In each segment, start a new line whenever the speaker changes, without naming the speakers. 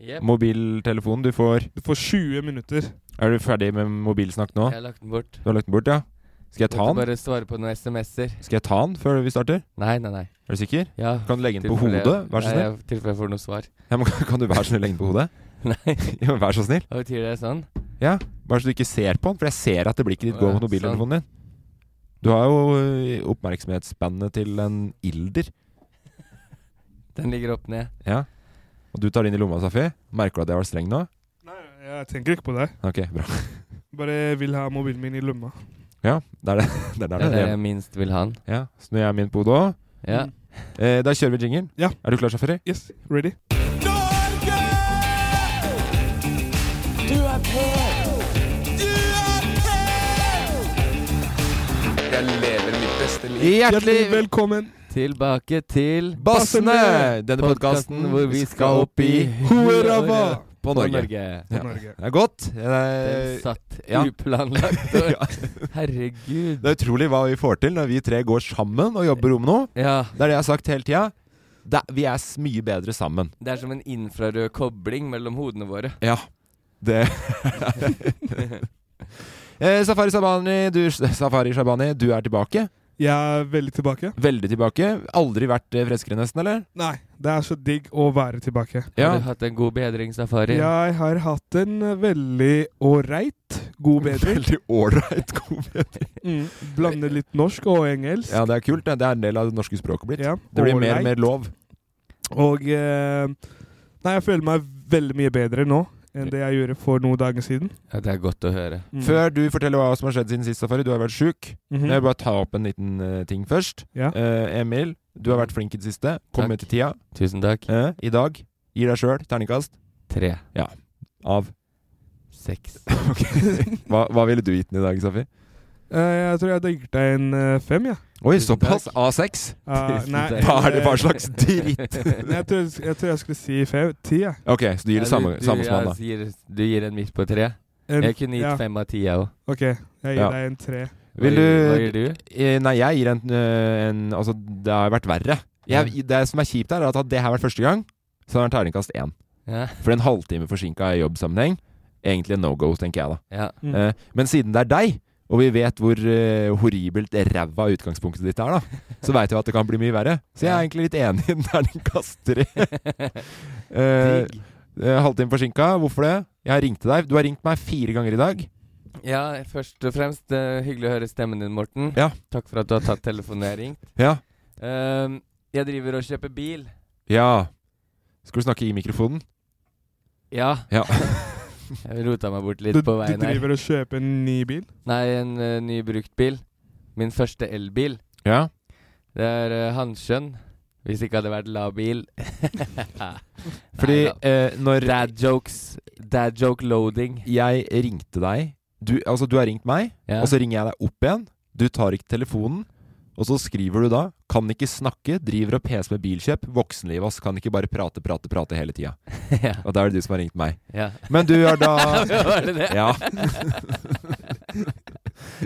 Jep.
Mobiltelefon du får.
Du får 20 minutter.
Er du ferdig med mobilsnakk nå?
Jeg har lagt den bort.
Du har lagt den bort, ja? Skal jeg ta
Måtte
den?
bare svare på noen SMS-er.
Skal jeg ta den før vi starter?
Nei, nei, nei.
Er du sikker?
Ja,
Kan du legge den på
tilfelle jeg-
hodet? Vær så
Nei,
snill.
jeg- tilfelle jeg får noe svar.
Ja, men kan- kan du være så snill legge den på hodet?
Nei,
Ja, men Vær så snill.
hva betyr det sånn?
Ja, Bare så du ikke ser på den, for jeg ser at det blikket ditt går
Ja,
mot mobiltelefonen din. Du har jo ø, oppmerksomhetsspannet til en ilder.
Den ligger opp ned.
Ja. Og du tar det inn i lomma, Safi. Merker du at jeg var streng nå?
Nei, jeg tenker ikke på deg.
Ok, bra.
Bare vil ha mobilen min i lomma.
Ja, det er det. Det er der
Det er det
det er.
jeg minst vil ha den.
Ja, Så nå er jeg min på hodet òg.
Ja.
Eh, da kjører vi jingelen.
Ja.
Er du klar, sjåfør?
Yes, ready? Hjertelig velkommen.
Tilbake til
Bassene! Denne
podkasten
podkasten
hvor vi skal opp i
Hoerava
på
Norge.
Norge.
På
Ja.
Norge.
Det er godt.
Den
Eh,
satt
ja.
uplanlagt.
ja.
Herregud.
Det er utrolig hva vi får til når vi tre går sammen og jobber om noe.
Ja,
Det er det jeg har sagt hele tida. Det er- Vi er s- mye bedre sammen.
det er som en infrarød kobling mellom hodene våre.
Ja. Det eh, Safari Shabani, du, Safari Shabani, du er tilbake.
Jeg er veldig tilbake.
Veldig tilbake. Aldri vært eh, friskere, nesten, eller?
Nei, det er så digg å være tilbake.
Har du hatt en god bedringssafari?
Jeg har hatt en veldig ålreit god bedring.
Veldig ålreit god bedring.
Mm. Blander litt norsk og engelsk.
Ja, det er kult. Det Det er en del av det norske språket blitt.
Ja,
Det blir mer
ålreit.
og mer lov.
Og eh, Nei, jeg føler meg veldig mye bedre nå enn det jeg gjorde for noen dager siden.
Ja, det er godt å høre.
Mm.
Før du forteller hva som har skjedd siden sist, Safari, du har vært sjuk.
Mhm.
Jeg vil bare ta opp en liten eh, ting først.
Ja.
Eh, Emil, du har vært flink i det siste. Kom
Takk.
med til tida.
Tusen takk.
Eh, I dag, gi deg sjøl terningkast
Tre.
av
Seks.
hva, hva ville du gitt den i dag, Safi?
Eh, jeg tror jeg hadde gitt deg en eh, fem, jeg.
Oi,
Tusen
såpass?
takk.
A6?
Ja. Eh, nei,
Hva er det
eh,
hva slags dritt?
nei, jeg, tror, jeg tror jeg skulle si fem. Ti, jeg.
Ok, så du gir
Ja,
det samme,
du- du-
samme som
ja,
han, da.
sier- Du gir en midt på tre?
En-
Jeg kunne gitt
ja.
fem av ti, jeg òg.
Ok, jeg gir
Ja.
deg en tre.
Vil
Hva
du
gir du?
eh, Nei, jeg gir en, eh, en Altså, det har vært verre. Jeg, det som er kjipt, her er at hadde det her vært første gang, så hadde det vært terningkast én.
Ja.
For en halvtime forsinka i jobbsammenheng, egentlig en no go, tenker jeg da.
ja.
Mm.
Eh, men siden det er deg, og vi vet hvor eh, horribelt ræva utgangspunktet ditt er, da, så veit vi at det kan bli mye verre. Så jeg er
Ja.
egentlig litt enig i den terningkast tre. Eh,
Digg.
eh, halvtime forsinka. Hvorfor det? Jeg ringte deg. Du har ringt meg fire ganger i dag.
Ja, først og fremst, eh, hyggelig å høre stemmen din, Morten.
Ja.
Takk for at du har tatt telefonen jeg har ringt.
Ja.
Ehm, jeg driver og kjøper bil.
ja. Skal du snakke i mikrofonen?
Ja.
Ja.
Jeg rota meg bort litt
Du,
på
du
veien her.
driver og kjøper en ny bil?
Nei, en eh, ny bruktbil. Min første elbil.
Ja.
Det er uh, Hanskjønn. Hvis ikke hadde vært labil.
Fordi
Neida.
eh, når
Dad jokes. Dad joke loading.
jeg ringte deg du, Altså, du har ringt meg,
Ja.
og så ringer jeg deg opp igjen. Du tar ikke telefonen. Og så skriver du da 'kan ikke snakke, driver og peser med bilkjøp', 'voksenlivet ass, kan ikke bare prate, prate, prate hele tida'.
ja.
Og da er det du som har ringt meg.
ja.
Men du er da
Var det det?
Ja.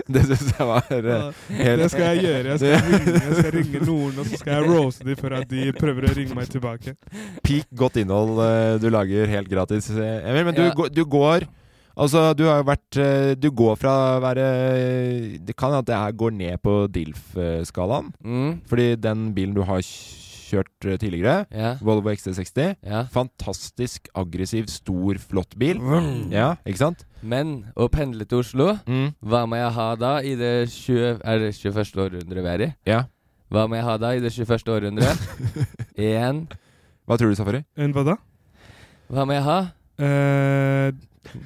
Det syns jeg var eh, helt
Det skal jeg gjøre. Jeg skal ringe, jeg skal ringe noen, og så skal jeg roase dem for at de prøver å ringe meg tilbake.
peak godt innhold eh, du lager helt gratis, eh, Emil. Men du,
Ja.
går- du går Altså, du har jo vært eh, Du går fra å være eh, Det kan hende at det her går ned på eh, DILF-skalaen.
Mm.
Fordi den bilen du har kjørt eh, tidligere,
Ja.
Volvo XC60
ja.
Fantastisk aggressiv, stor, flott bil. Ja, ikke sant?
Men å pendle til Oslo,
Mm.
hva må jeg ha da i det 20, er det 21. århundret vi er i?
Ja.
Hva må jeg ha da i det 21. århundret? Én
Hva tror du, Safari?
En hva da?
Hva må jeg ha?
Eh,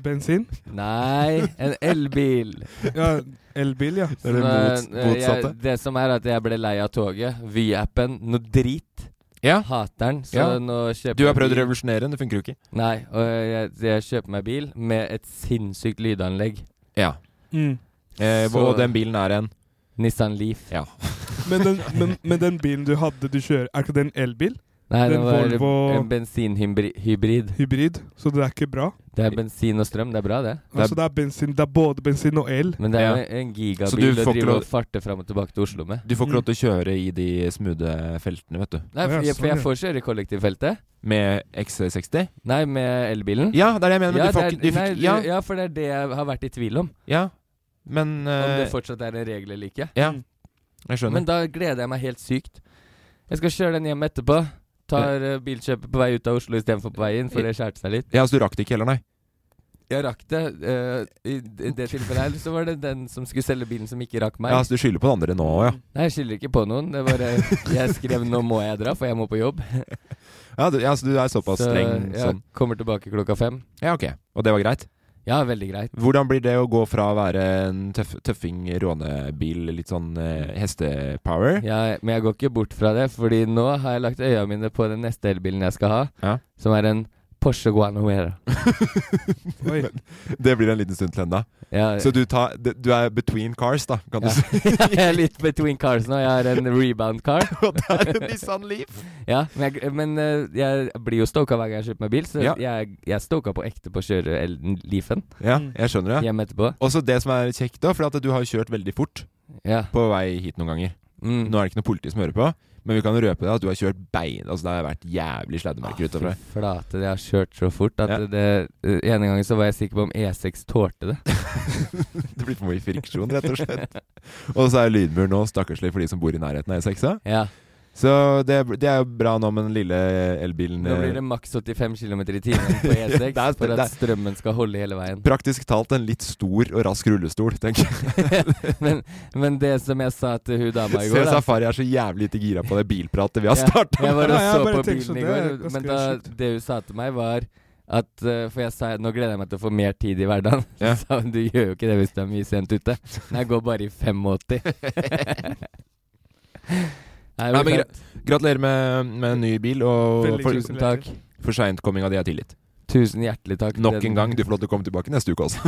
bensin?
Nei, en elbil.
Ja, elbil, ja.
Det er det
Nå,
mot-
eh,
motsatte.
Jeg, det som er at jeg ble lei av toget. Vy-appen, noe drit.
Ja.
Hater den. Så
Ja.
nå kjøper
Du har prøvd å
bil.
revolusjonere den, det funker jo ikke.
Nei, og jeg, jeg kjøper meg bil med et sinnssykt lydanlegg.
Ja.
Mm.
Eh,
Så-
og den bilen er en
Nissan Leaf.
Ja.
Men, den, men, men den bilen du hadde du kjører, er ikke det en elbil?
Nei, det
Den
var
Volvo-
en bensinhybrid.
Hybrid? Så det er ikke bra.
Det er bensin og strøm, det er bra, det.
Altså, det er bensin, det er både bensin og el.
Men det er
Ja.
jo en
Så du
gigabil å
får ikke
drive
lov-
og farte fram og tilbake til Oslo med.
Du får ikke lov til å kjøre i de smoothe feltene, vet du.
Nei,
Å, ja,
for jeg, for
sånn,
jeg
ja.
får kjøre i kollektivfeltet.
Med XC60?
Nei, med elbilen.
Ja, det er det jeg mener, men
Ja,
du får
det er-
ikke du
nei,
fikk,
du-
ja,
ja, for det er det jeg har vært i tvil om.
ja, men
Om det
eh,
fortsatt er en regel eller ikke.
Mm.
Ja, jeg skjønner.
Men da gleder jeg meg helt sykt. Jeg skal kjøre den hjem etterpå. Tar eh, bilkjøpet på vei ut av Oslo istedenfor på vei inn, for det skjærte seg litt.
Ja, så du rakk det ikke heller, nei?
Jeg rakk det. eh, I d- det tilfellet her så var det den som skulle selge bilen, som ikke rakk meg.
Ja, så du skylder på den andre nå òg, ja.
Nei, jeg skylder ikke på noen. Det var eh, Jeg skrev 'nå må jeg dra, for jeg må på jobb'.
Ja, du, ja, så du er såpass
så
streng
jeg
sånn.
kommer tilbake klokka fem.
Ja, ok. Og det var greit?
Ja, veldig greit.
Hvordan blir det å gå fra å være en tøff, tøffing rånebil, litt sånn
Mm.
eh, hestepower
Jeg, men jeg går ikke bort fra det, Fordi nå har jeg lagt øya mine på den neste elbilen jeg skal ha,
Ja.
som er en Porsche Guanamera.
Oi.
Det blir en liten stund til ennå.
Ja,
Så du, tar, du er between cars, da, kan
Eh. ja.
du si.
jeg er litt between cars nå. Jeg har en rebound car.
Og det er en sånn Nissan Leaf!
Ja, men jeg, men eh, jeg blir jo stoka hver gang jeg kjøper meg bil, så
Ja.
jeg, jeg er stoka på ekte på å kjøre el- Leafen
Ja, Mm. jeg skjønner det.
hjem etterpå.
Og så det som er kjekt, da, for at du har kjørt veldig fort
Ja.
på vei hit noen ganger.
Mm.
Nå er det ikke noe politi som hører på, men vi kan røpe deg at du har kjørt bein Altså det har vært jævlig sladdemerker utover deg.
Ah, Fy flate, jeg har kjørt så fort at
Ja.
det, eh, ene gangen så var jeg sikker på om E6 tålte det.
Det blir for mye friksjon, rett og slett. Og så er lydmur nå stakkarslig for de som bor i nærheten av E6-a.
Ja.
Så det, det er jo bra nå med den lille elbilen.
Nå blir det maks 85 km i timen på E6
Det er-
for
det er-
at strømmen skal holde hele veien.
Praktisk talt en litt stor og rask rullestol, tenker jeg.
men, men det som jeg sa til hun dama i
Se,
går da,
Safari er så jævlig lite gira på det bilpratet vi har
Ja.
starta.
Jeg var og
Nei, jeg
så
bare
på
tenkte sånn,
bilen i
det er
går,
ganske
men da,
sjukt.
det hun sa til meg, var at eh, For jeg sa nå gleder jeg meg til å få mer tid i hverdagen.
Ja.
Så sa hun du gjør jo ikke det hvis du er mye sent ute. Nei, jeg går bare i 85. Nei,
Nei, men
men
gre- Gratulerer med, med en ny bil, og
Veldig
for,
tusen.
Tusen takk.
for seintkomminga di er tilgitt.
Tusen hjertelig takk.
Nok
Den-
en gang, du får lov til å komme tilbake neste uke også.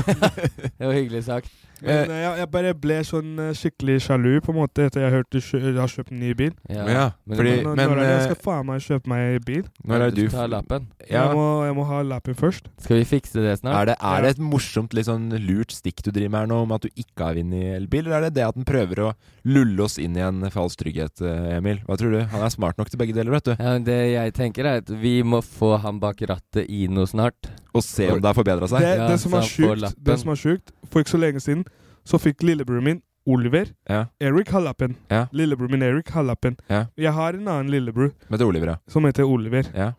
Det var hyggelig sagt.
Men, eh, jeg, jeg bare ble sånn eh, skikkelig sjalu på en måte etter jeg hørte du kjø- jeg har kjøpt en ny bil.
Ja,
men
fordi-
du
Nå,
men,
når er det jeg
eh,
skal faen meg kjøpe meg bil?
må-
Når er
du
du
skal ta lappen.
Ja.
Jeg, må, jeg må ha lappen først.
Skal vi fikse det snart?
Er det, er
Ja.
det et morsomt, litt sånn lurt stikk du driver med her nå, om at du ikke har vunnet elbil, eller er det det at den prøver å lulle oss inn i en falsk trygghet, eh, Emil? Hva tror du? Han er smart nok til begge deler, vet du.
Ja, men det jeg tenker, er at vi må få han bak rattet i noe snart.
Og se om det har forbedra
Det,
seg.
Ja,
det, som
så han
er
får
sjukt,
lappen.
det som er sjukt For ikke så lenge siden så fikk lillebroren min, Oliver
Ja.
Erik har lappen.
Ja.
Lillebroren min Erik har lappen.
Ja.
Jeg har en annen lillebror
Men til Oliver, ja.
som heter Oliver.
Ja.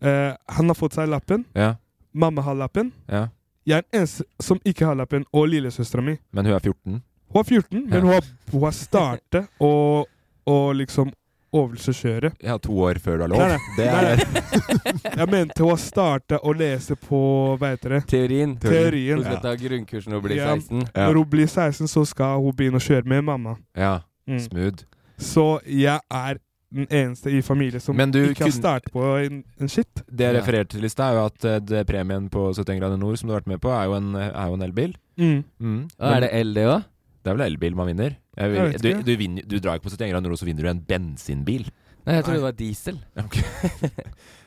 Eh, han har fått seg lappen.
ja.
Mamma har lappen.
ja.
Jeg er den eneste som ikke har lappen, og lillesøstera mi.
Men hun er 14.
Hun er 14, men
Ja.
hun har, hun har startet å å liksom overkjøre.
Ja, to år før du har lov.
Nei, nei.
Det
Nei,
er
Jeg mente hun har startet å lese på, hva heter det,
Teorien.
teorien.
Hun skal ta grunnkursen og bli
Ja.
16.
Ja.
Når hun blir 16, så skal hun begynne å kjøre med mamma.
ja.
Mm.
Smooth.
Så jeg er den eneste i familien som
Men du
ikke har
kunne-
startet på en, en shit.
Det jeg
Ja.
refererte til i stad, er jo at eh, det premien på 71 grader nord som du har vært med på, er jo en, er jo en elbil.
Mm.
Mm.
Og er det LD òg?
det er vel elbil man vinner? Jeg
Jeg
vil,
vet
du,
ikke.
du, vinner, du drar ikke på 71 grader nord, og så vinner du en bensinbil.
Nei, jeg trodde det var diesel.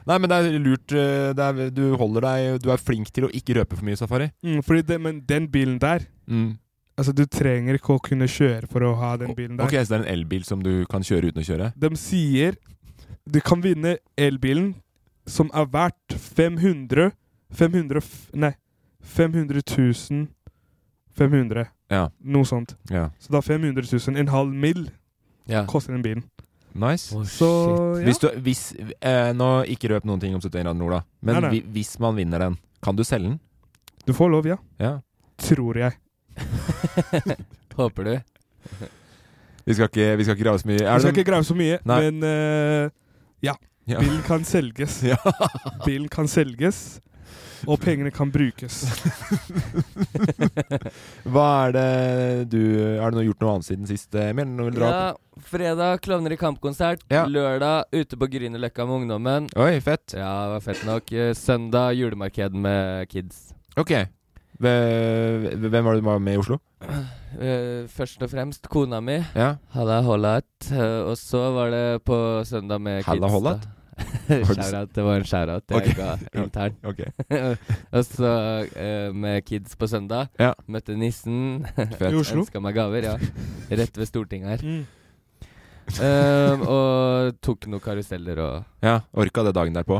Nei, men det er lurt. eh, Det er, du holder deg Du er flink til å ikke røpe for mye safari.
Mm, fordi det, men den bilen der Altså, du trenger ikke å kunne kjøre for å ha den bilen der.
Ok, Så det er en elbil som du kan kjøre uten å kjøre?
De sier du kan vinne elbilen som er verdt 500 500 f- Nei, 500 000 500.
Ja.
Noe sånt.
Ja.
Så da 500 000, en halv mill,
Ja.
koster den bilen.
Nice.
Å,
Så
shit.
ja.
Hvis du, hvis, eh, nå ikke røp noen ting om 71 grader nord, da. Men
Nei, nei.
vi- hvis man vinner den, kan du selge den?
Du får lov, ja.
Ja.
Tror jeg.
Håper du?
Vi skal ikke, vi skal ikke grave så mye. Er
Vi
det
skal
noen-
ikke grave så mye,
Nei.
men eh, ja.
Ja.
Bilen kan selges.
Ja.
Bilen kan selges, og pengene kan brukes.
Hva er det du Har du nå gjort noe annet siden sist, eh, Emil? Nå vil du dra
Ja, fredag Klovner i kamp-konsert.
Ja.
Lørdag ute på Grünerløkka med ungdommen.
opp? Oi, fett.
Ja, det var fett nok. Eh, Søndag julemarked med kids.
Ok. Hve- Hvem var det du var med i Oslo?
Eh, først og fremst kona mi.
Ja.
Halla Hollat. Eh, og så var det på søndag med
Halla
kids.
Hollat?
da. Shoutout, det var en shoutout jeg
Ok.
ga internt.
Ok.
og så eh, med kids på søndag.
Ja.
Møtte nissen.
Fett.
I Oslo.
Ønska meg gaver, ja. Rett ved Stortinget her.
Mm.
Eh, og tok noen karuseller og
Ja, Orka det dagen derpå?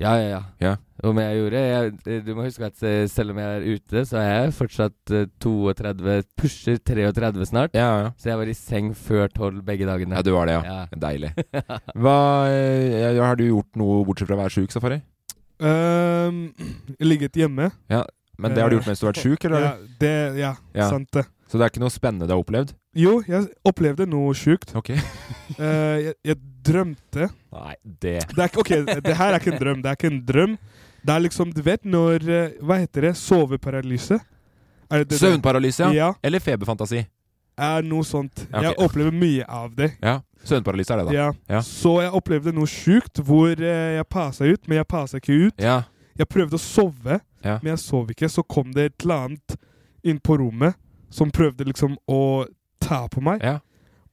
Ja, ja, ja.
Ja.
Om jeg gjorde jeg, Du må huske at eh, selv om jeg er ute, så er jeg fortsatt eh, 32, pusher 33 snart.
Ja, ja.
Så jeg var i seng før 12 begge dagene.
Ja, du var det, ja.
Ja.
Deilig. Hva, eh, ja, har du gjort noe bortsett fra å være sjuk, Safari?
Ehm, ligget hjemme.
Men det har du gjort mens du har vært sjuk, eller?
Eh, Ja, det, ja,
Ja.
sant det.
Så det er ikke noe spennende du har opplevd?
Jo, jeg opplevde noe sjukt.
Ok.
Eh, jeg, jeg drømte
Nei, det
det er, ikke- Ok, det her er ikke en drøm. Det er ikke en drøm. Det er liksom, du vet når eh, Hva heter det? Soveparalyse? Er det det-
Søvnparalyse, ja.
Ja,
Eller feberfantasi.
er noe sånt.
Ja, ok.
Jeg opplever mye av det.
Ja. Søvnparalyse er det, da.
Ja.
Ja.
Så jeg opplevde noe sjukt hvor eh, jeg passa ut, men jeg passa ikke ut.
Ja.
Jeg prøvde å sove,
Ja.
men jeg sov ikke. Så kom det et eller annet inn på rommet som prøvde liksom å ta på meg.
Ja.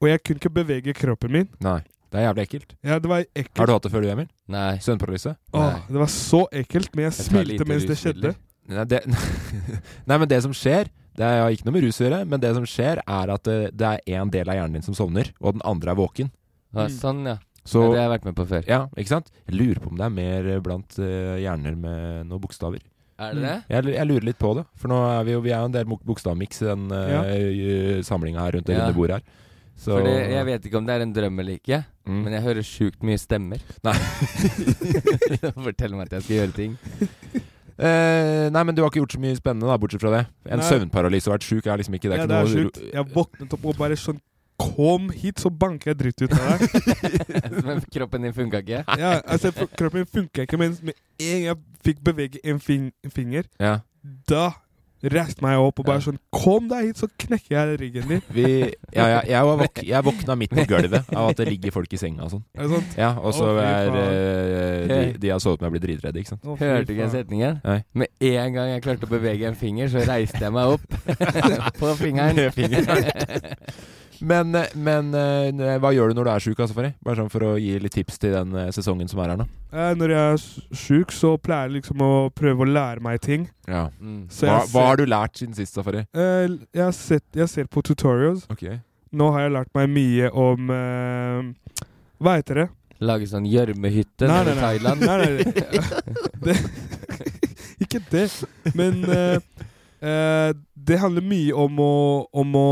Og jeg kunne ikke bevege kroppen min.
Nei. Det er jævlig ekkelt.
Ja, det var
Har
ekkelt.
du hatt det før, du, Emil?
Nei.
Søvnparalyse?
Åh, det var så ekkelt, men jeg,
Jeg tar lite
smilte mens det
rusmidler.
skjedde.
Nei, det, nei, men det som skjer Det har ikke noe med rus å gjøre, men det som skjer, er at eh, det, det er én del av hjernen din som sovner, og den andre er våken.
Ja,
Mm.
sånn, ja.
Så
det har jeg vært med på før.
Ja, ikke sant? Jeg lurer på om det er mer eh, blant eh, hjerner med noen bokstaver.
Er det det?
Jeg, jeg lurer litt på det, for nå er vi jo, vi er jo en del bok- bokstavmiks i den
Ja.
uh, samlinga her rundt det
Ja.
runde bordet her. Så
Fordi jeg vet ikke om det er en drøm eller ikke,
Mm.
men jeg hører sjukt mye stemmer.
Nei.
Fortell meg at jeg skal gjøre ting.
Eh, nei, men du har ikke gjort så mye spennende, da, bortsett fra det. En
Nei.
søvnparalyse og vært sjuk er liksom ikke Det er
ja,
ikke
det er
noe
sjukt. Jeg våknet opp og bare sånn Kom hit, så banker jeg dritt ut av deg.
Men kroppen din funka ikke.
Ja, altså, for- kroppen min funka ikke, men med en gang jeg fikk bevege en fing finger,
Ja.
da reiste meg opp og bare
Ja.
sånn Kom deg hit, så knekker jeg ryggen din.
Vi, ja, ja, jeg, var våk, jeg våkna midt på gulvet av at det ligger folk i senga og sånn.
Er det sant?
Ja, og så
Å, fy
er
faen.
eh, de, de jeg har sovet med, blitt dritredde, ikke sant.
Å, fy
Hørte ikke
faen.
den setningen.
Nei.
Med en gang jeg klarte å bevege en finger, så reiste jeg meg opp på fingeren.
Med fingeren. Men, eh, men eh, hva gjør du når du er sjuk, altså, Fari? Bare sånn for å gi litt tips til den eh, sesongen som er her nå.
Eh, Når jeg er s- sjuk, så pleier jeg liksom å prøve å lære meg ting.
Ja.
Mm.
Så
Hva,
jeg,
hva har du lært siden sist, Safari?
ser, eh, jeg, har sett, jeg ser på tutorials.
Ok
Nå har jeg lært meg mye om eh, Hva heter det?
Lage sånn gjørmehytte
Nei,
nede i
nei, nei.
Thailand.
Nei, nei, nei. Det, ikke det. Men eh, eh, det handler mye om å, om å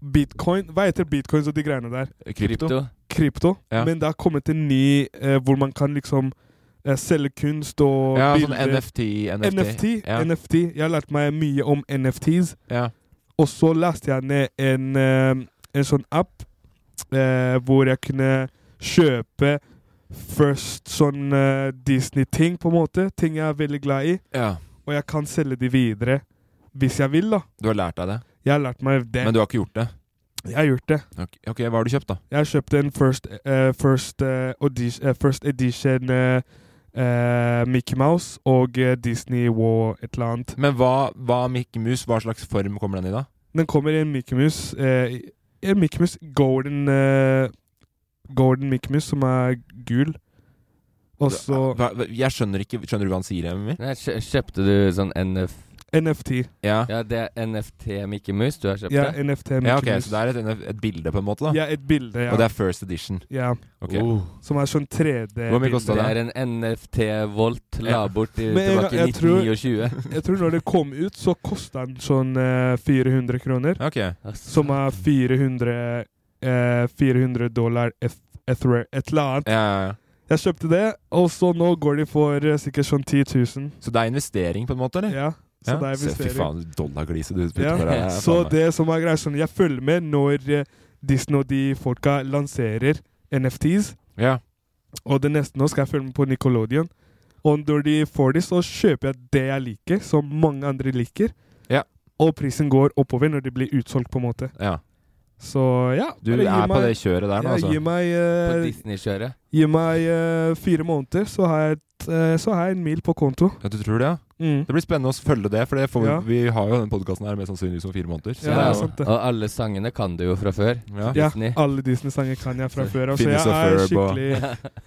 Bitcoin Hva heter bitcoins og de greiene der?
Krypto?
Krypto.
Krypto.
Ja.
Men det har kommet en ny eh, hvor man kan liksom eh, selge kunst og
Ja, sånn
bilder.
NFT. NFT.
NFT,
Ja.
NFT. Jeg har lært meg mye om NFTs.
ja.
Og så leste jeg ned en, eh, en sånn app eh, hvor jeg kunne kjøpe først sånn eh, Disney-ting, på en måte. Ting jeg er veldig glad i.
ja.
Og jeg kan selge de videre hvis jeg vil, da.
Du har lært deg det,
Jeg har lært meg det.
men du har ikke gjort det?
Jeg har gjort det.
Ok, ok, hva har du kjøpt, da?
Jeg kjøpte en first, eh, first, eh, audi- eh, first edition eh, eh, Mickey Mouse og eh, Disney War et eller annet.
Men hva, hva Mikke Mus, hva slags form kommer den i da?
Den kommer i en Mickey Mouse eh, i- en Mikmus Golden eh, Golden Mikmus som er gul. Og så
hva, hva, Jeg skjønner ikke Skjønner du hva han sier, Emil?
Nei, kjø- kjøpte du sånn NF...
NFT.
Ja.
Ja, det er NFT Mickey Mouse du har kjøpt?
Ja,
det?
NFT
ja,
Mikmus.
ok, Så det er et, et bilde, på en måte? da
Ja, et bilde, ja.
Og det er first edition.
ja.
Ok.
Oh.
Som er sånn 3D.
Hvor mye kosta
Det
det?
er en NFT Volt la
Ja.
bort i,
Men jeg-
tilbake i
jeg tror-
1929.
Jeg tror når det kom ut, så kosta den sånn eh, 400 kroner.
Ok.
Som er 400 eh, 400 dollar eth ether, et eller annet.
Ja, ja, ja.
Jeg kjøpte det, og så nå går de for eh, sikkert sånn 10 000.
Så det er investering, på en måte? eller?
Ja, så
Ja.
det er
Se, Fy
investering.
faen, dollargliset du putter
Ja.
på deg.
Så
faen meg.
det som er greia, sånn, jeg følger med når eh, Disney og de folka lanserer NFTs,
Ja.
og det neste nå skal jeg følge med på Nickelodeon. Og når de får de, så kjøper jeg det jeg liker, som mange andre liker.
Ja.
Og prisen går oppover når de blir utsolgt, på en måte.
ja.
Så ja.
Du
bare gi
er på
meg-
det kjøret der nå,
ja,
altså?
Gi meg,
På
eh,
Disney-kjøret.
gi meg eh, fire måneder, så har, jeg et, eh, så har jeg en mil på konto.
Ja, du tror det, ja?
Mm.
Det blir spennende å følge det, for det får, vi-
Ja.
vi har jo den podkasten her mest sannsynligvis om fire måneder. Så
Ja, altså,
det er jo
det er sant det.
Og alle sangene kan du jo fra før.
ja.
Ja,
Disney.
alle Disney-sanger kan jeg fra før av, så
Phineas
jeg
og
er
Ferb og-
skikkelig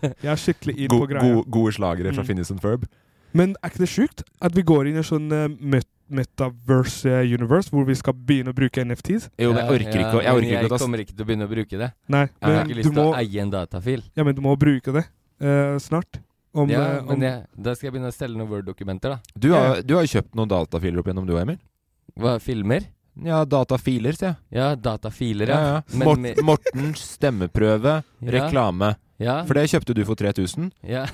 Jeg er skikkelig inn
Go,
på greia.
go, gode slagere fra
Mm.
Finnis and Ferb.
Men er ikke det sjukt at vi går inn i en sånn eh, met metaverse eh, universe hvor vi skal begynne å bruke NFTs?
Jo, men jeg
Ja,
orker
ja,
ikke, å- jeg
men
orker ikke å ta
kommer ikke til å begynne å bruke det.
Nei,
Jeg har
men,
ikke
du,
lyst til
må,
å eie en datafil.
ja, men du må bruke det eh, snart. Om,
Ja,
eh, om,
men jeg, da skal jeg begynne å selge noen Word-dokumenter, da.
Du har du har jo kjøpt noen datafiler opp gjennom du, Emil?
Hva, filmer?
Ja, datafiler, sier jeg.
Ja, datafiler,
Ja,
ja.
ja.
Men
Mort,
med-
Mortens stemmeprøve,
Ja.
reklame.
Ja.
For det kjøpte du for 3000.
ja.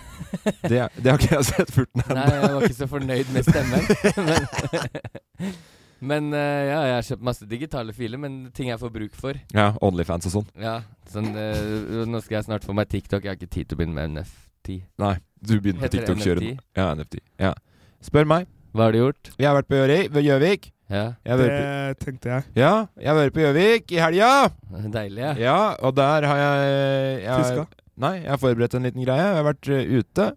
Det, det har ikke jeg sett furten
Nei,
ennå.
jeg var ikke så fornøyd med stemmen. men men eh, ja, jeg har kjøpt masse digitale filer, men ting jeg får bruk for.
Ja, Onlyfans og sånn.
Ja, sånn, eh, Nå skal jeg snart få meg TikTok. Jeg har ikke tid til å begynne med NFT.
Nei, du begynner med
Heter det
TikTok-kjøret nå.
NFT?
Ja, NFT. Ja. Spør meg.
Hva har du gjort?
Jeg har vært på Gjøri- ved Gjøvik.
Ja,
Jeg har
det
vært
tenkte jeg.
på, ja, jeg har vært på Gjøvik i helga!
Deilig, ja.
Ja, og der har jeg, jeg
Fiska.
Nei, jeg har forberedt en liten greie. Jeg har vært eh, ute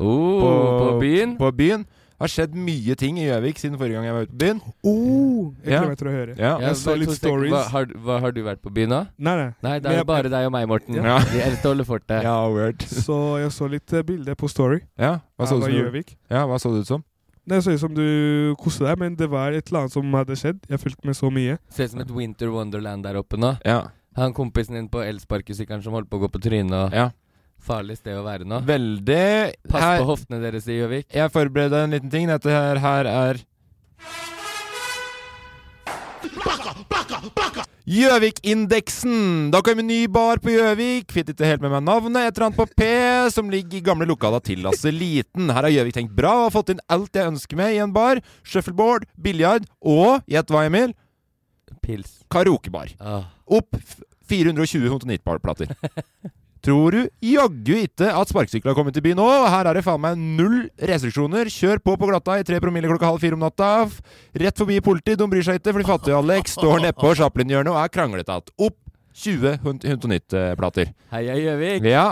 Oh, på,
På-
byen?
på byen. Det har skjedd mye ting i Gjøvik siden forrige gang jeg var ute på byen.
Oh, jeg
Ja.
gleder meg til å høre.
Ja,
Ja,
jeg så
bare
litt
to sek-
stories.
Hva, har, hva, har du vært på byen nå?
Nei, nei.
Nei, det
Men
er
jeg-
jo bare deg og meg, Morten.
Ja.
Vi elsker å holde fortet.
ja word.
Så jeg så litt eh, bilder på Story.
Ja, hva så, det
Ja, det var
ut som,
Gjøvik.
ja, hva så det ut som?
Det så ut som du koste deg, men det var et eller annet som hadde skjedd. Jeg fulgte med så mye.
Ser ut som et Winter Wonderland der oppe nå.
Ja.
Han kompisen din på elsparkesykkelen som holdt på å gå på trynet og
ja.
Farlig sted å være nå.
Veldig
Pass
Her-
på hoftene deres i Gjøvik.
Jeg forbereder en liten ting. Dette her, her er Gjøvikindeksen! Da kom en ny bar på Gjøvik. Fikk ikke helt med meg navnet. Et eller annet på P, som ligger i gamle lokala til Lasse Liten. Her har Gjøvik tenkt bra og fått inn alt jeg ønsker meg i en bar. Shuffleboard, biljard og, gjett hva, Emil?
Pils.
Karaokebar.
Åh.
Opp f- 420 Hontonittbar-plater. Tror du jaggu ikke at sparkesykler har kommet til byen nå? Her er det faen meg null restriksjoner. Kjør på på glatta i tre promille klokka halv fire om natta. F- Rett forbi politi, de bryr seg ikke, for de fattige Alex står nedpå Chaplin-hjørnet og er kranglete att. Opp 20 Hontonitt-plater.
Heia Gjøvik!
Ja.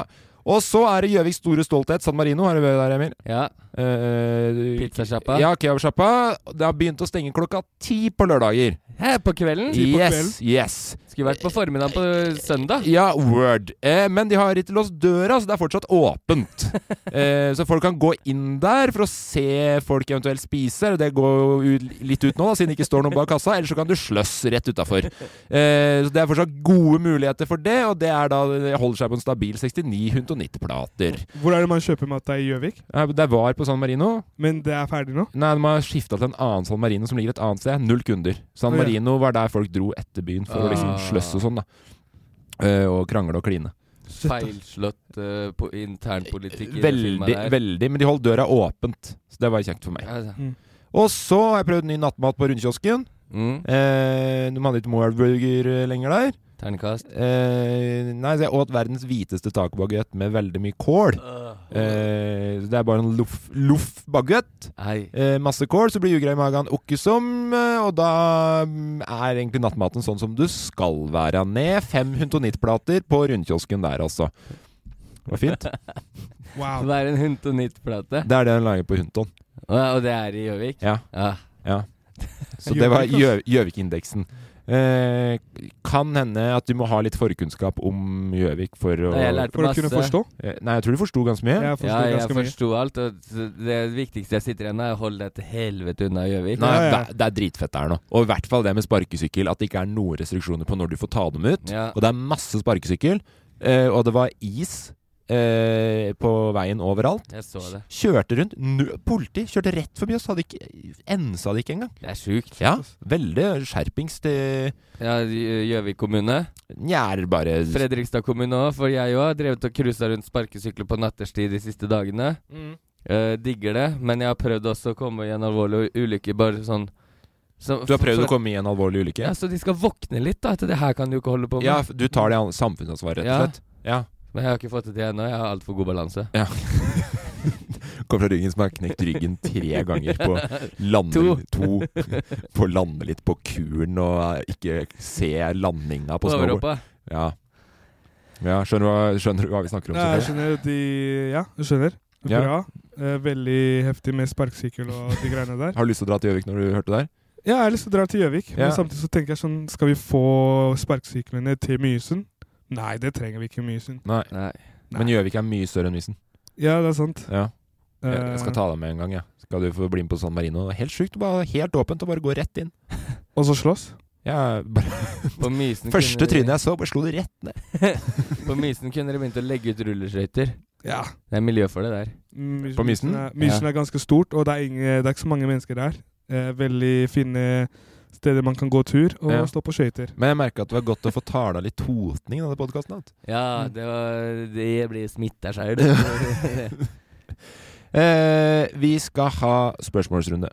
Og så er det Gjøviks store stolthet, San Marino. Har du vært der, Emil?
Ja.
Eh,
Pizzasjappa.
Ja, kebabsjappa. Det har begynt å stenge klokka ti på lørdager.
Her på kvelden?
Ti på
Yes, yes.
Skulle vært på formiddagen på søndag.
Ja, word. Eh, men de har ikke låst døra, så det er fortsatt åpent. Eh, så folk kan gå inn der for å se folk eventuelt spise. eller Det går jo ut- litt ut nå, da, siden det ikke står noen bak kassa. Eller så kan du sløss rett utafor. Eh, så det er fortsatt gode muligheter for det, og det er da det holder seg på en stabil 69 190-plater.
Hvor er det man kjøper matta i Gjøvik?
Eh, Det var på San Marino.
Men det er ferdig nå?
Nei, de har skifta til en annen San Marino som ligger et annet sted. Null kunder. San
Å, ja.
Marino var der folk dro etter byen for å liksom
Ah.
sløss og sånn, da. Eh, og krangle og kline.
Feilslått uh, på internpolitikk. i det
Veldig,
firmaet der.
veldig, men de holdt døra åpent. Så det var kjekt for meg.
Ja, altså.
Og så har jeg prøvd ny nattmat på rundkiosken.
Mm.
Eh, de hadde ikke Moorburger lenger der.
Ternekast.
Eh, nei, så jeg åt verdens hviteste tacobagett med veldig mye kål.
Øh.
Eh, så det er bare en loff- loff-bagett.
Hei.
eh, masse kål, så blir ugrei i magen okkesom, eh, og da mm, er egentlig nattmaten sånn som du skal være ned. Fem huntonittplater på rundkiosken der, altså. Det var fint.
Wow.
Det er en Huntonitt-plate.
Det er det den lager på Hunton.
Og og det er i Gjøvik?
Ja.
Ja.
Så det var Gjø- Gjøvik-indeksen. Eh, kan hende at du må ha litt forkunnskap om Gjøvik for å
Nei, jeg lærte
For å kunne
masse.
forstå.
Eh, Nei, jeg tror du forsto ganske mye.
Jeg forsto
Ja, jeg
ganske mye.
forsto alt. Og så det viktigste jeg sitter igjen med, er å holde deg til helvete unna Gjøvik.
Nei,
Ja, ja.
Det, det er dritfett der nå. Og i hvert fall det med sparkesykkel, at det ikke er noen restriksjoner på når du får ta dem ut.
Ja.
Og det er masse sparkesykkel, eh, og det var is eh, på veien overalt.
Jeg så det.
Kjørte rundt. Nø politi kjørte rett forbi oss. Hadde ikke, ensa det ikke engang.
Det er sjukt.
Ja, veldig skjerpings til
Ja, Gjø- Gjøvik kommune.
Nja, er det bare
Fredrikstad kommune òg, for jeg òg har drevet og cruisa rundt sparkesykler på natterstid de siste dagene.
Mm.
Eh, digger det, men jeg har prøvd også å komme i en alvorlig u- ulykke, bare sånn så,
Du har prøvd
for-
å komme i en alvorlig
Ja,
ulykke?
så de skal våkne litt, da. At det her kan du ikke holde på med.
Ja, f- du tar det an- samfunnsansvaret, rett
Ja.
og slett? Ja.
Men jeg har ikke fått det til ennå. Jeg har altfor god balanse.
Kom fra ryggen som har knekt ryggen tre ganger på lande,
To.
to. På å lande litt på kuren og eh, ikke se landinga på snowboard.
Overhoppa.
Ja. Ja, skjønner, du hva, skjønner du hva vi snakker om?
Nei, jeg
selvfølgelig?
skjønner de Ja, jeg skjønner.
Ja.
Bra. Eh, veldig heftig med sparkesykkel og de greiene der.
Har du lyst til å dra til Gjøvik når du hørte det der?
Ja, jeg har lyst til å dra til Gjøvik,
Ja.
men samtidig så tenker jeg sånn Skal vi få sparkesyklene til Mysen? Nei, det trenger vi ikke i Mysen.
Nei.
Nei.
Men Gjøvik er mye større enn Mysen.
Ja, det er sant.
Ja. Jeg, jeg skal
Eh,
ta deg med en gang, jeg. Skal du få bli med på San Marino. Det er Helt sjukt. Bare helt åpent og bare gå rett inn.
og så slåss?
Ja, bare,
På Mysen
første
kunne de-
trynet jeg så, bare slo det rett ned.
På Mysen kunne de begynt å legge ut rulleskøyter.
Ja.
Det er miljø for det der.
Mm,
På Mysen?
er, mysen er ganske stort, og det er, ingen, det er ikke så mange mennesker der. Eh, veldig fine steder man kan gå tur og
Ja.
stå på skøyter.
Men jeg merka at det var godt å få tala litt totning i denne podkasten.
Ja,
Mm.
det var Det blir smitta sjøl.
Eh, vi skal ha spørsmålsrunde.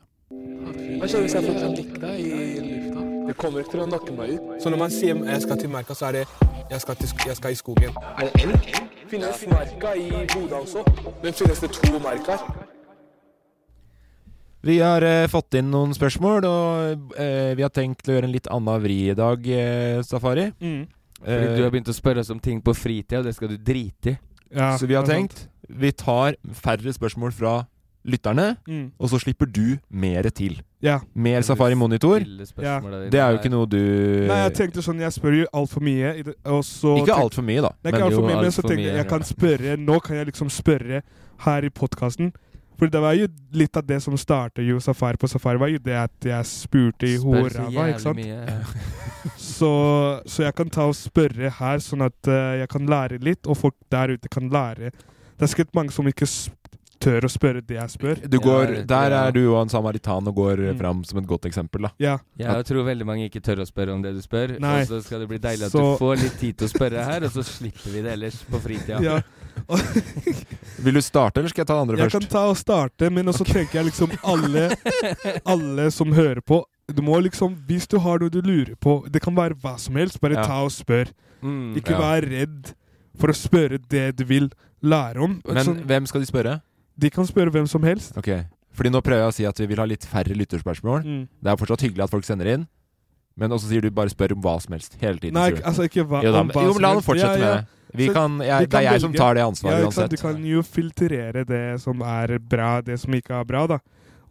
Hva skjer hvis jeg får en dikta i lufta? Det kommer ikke til å nakke meg ut.
Så når man sier jeg skal til merka, så er det jeg skal, til, sk- jeg skal i skogen.
Er det elg? Finnes merka i Bodø også? Men finnes det to merker?
Vi har eh, fått inn noen spørsmål, og eh, vi har tenkt å gjøre en litt annen vri i dag, eh, Safari.
Mm.
Fordi
Eh,
du har begynt å spørre oss om ting på fritida, og det skal du drite i.
Ja,
så vi har
det er sant.
tenkt vi tar færre spørsmål fra lytterne,
Mm.
og så slipper du mere til.
Ja.
Mer Safari Monitor. Det er jo ikke noe du
Nei, jeg tenkte sånn, jeg spør jo altfor mye. i det- Og så
Eh. Ikke
tenk-
altfor mye, da.
Det er ikke
jo,
altfor mye, men
alt
så
for
tenkte
mye,
jeg jeg
ja.
kan spørre Nå kan jeg liksom spørre her i podkasten. For det var jo litt av det som startet jo Safari på Safari, var jo det at jeg spurte i horæva, ikke sant?
Mye.
Så, så jeg kan ta og spørre her, sånn at eh, jeg kan lære litt, og folk der ute kan lære. Det er sikkert mange som ikke s- tør å spørre det jeg spør.
Du går,
Ja, det-
der
ja.
er du og en samaritan og går eh,
Mm.
fram som et godt eksempel, da.
Ja,
Jeg tror veldig mange ikke tør å spørre om det du spør.
Nei.
Og så skal det bli deilig at
Så-
du får litt tid til å spørre her, og så slipper vi det ellers på fritida.
ja.
Vil du starte, eller skal jeg ta det andre
Jeg kan
først?
ta og starte, men også tenker jeg liksom alle, alle som hører på du må liksom, Hvis du har noe du lurer på, det kan være hva som helst, bare
Ja.
ta og spør.
Mm.
Ikke
Ja.
vær redd for å spørre det du vil lære om.
Men
sånn,
hvem skal de spørre?
de kan spørre hvem som helst.
Ok, Fordi nå prøver jeg å si at vi vil ha litt færre lytterspørsmål.
Mm.
Det er fortsatt hyggelig at folk sender inn, men også sier du bare spør om hva som helst. Hele tiden.
Nei,
sier du.
altså ikke hva,
jo da,
om
men-
hva
jo, men
som
la ham
helst.
fortsette
Ja, ja.
med det. Vi
Så
kan, jeg,
vi
det
kan
er jeg som
velge.
tar det
Ja,
ansvaret
ikke
uansett.
sant? Du kan jo filtrere det som er bra, det som ikke er bra. da.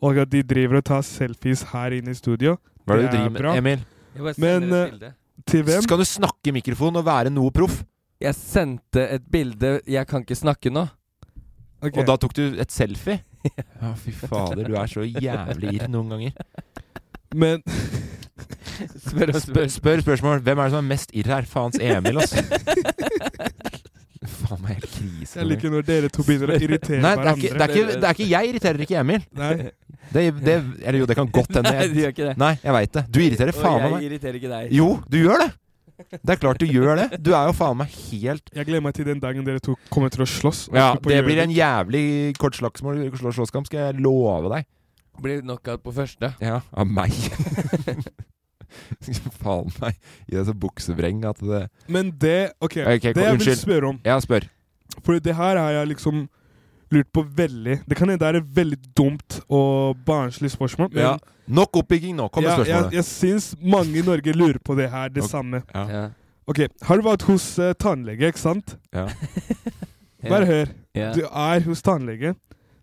Og at de driver og tar selfies her inne i studio.
Hva er det
Det
du
er
driver med,
bra.
Emil?
Jeg, bare
Men,
sender et
eh,
bilde.
Til hvem?
Skal du snakke i mikrofonen og være noe proff?
jeg sendte et bilde Jeg kan ikke snakke nå.
Ok.
Og da tok du et selfie? Ja, fy fader, du er så jævlig irr noen ganger.
Men
Spør og
Spør,
spør.
spør spørsmål. Hvem er det som er mest irr her? Faens Emil, altså. Faen meg helt krise.
jeg
noen ganger.
liker når dere to begynner å irritere
Nei, det er, ikke,
hverandre.
det, er ikke, det er ikke Jeg irriterer ikke Emil.
Nei.
Det, det, eller jo, det kan godt hende.
Nei, du
jeg-
gjør ikke det.
Nei, jeg veit det. Du irriterer faen meg
og
meg.
jeg irriterer ikke deg.
Jo, du gjør det! Det er klart du gjør det. Du er jo faen meg helt
Jeg gleder meg til den dagen dere to kommer til å slåss. og
ja,
skal på
Det blir en
Gjøvik.
jævlig kort slagsmål, slå- slåsskamp, skal jeg love deg.
Blir knockout på første.
Ja, Av meg. faen meg. I det så buksevreng at det
Men det Ok,
Ok, kom,
det jeg vil
unnskyld.
spørre om
Ja, spør.
For det her har jeg liksom lurt på veldig Det kan hende det er et veldig dumt og barnslig spørsmål, men
Ja. Nok oppbygging nå. Kom med
ja, jeg,
spørsmålet.
jeg syns mange i Norge lurer på det her, det
Ok.
samme.
Ja.
Ja.
Ok, Har du vært hos eh, tannlege, ikke sant?
Ja.
Bare hør.
Ja.
Du er hos tannlege.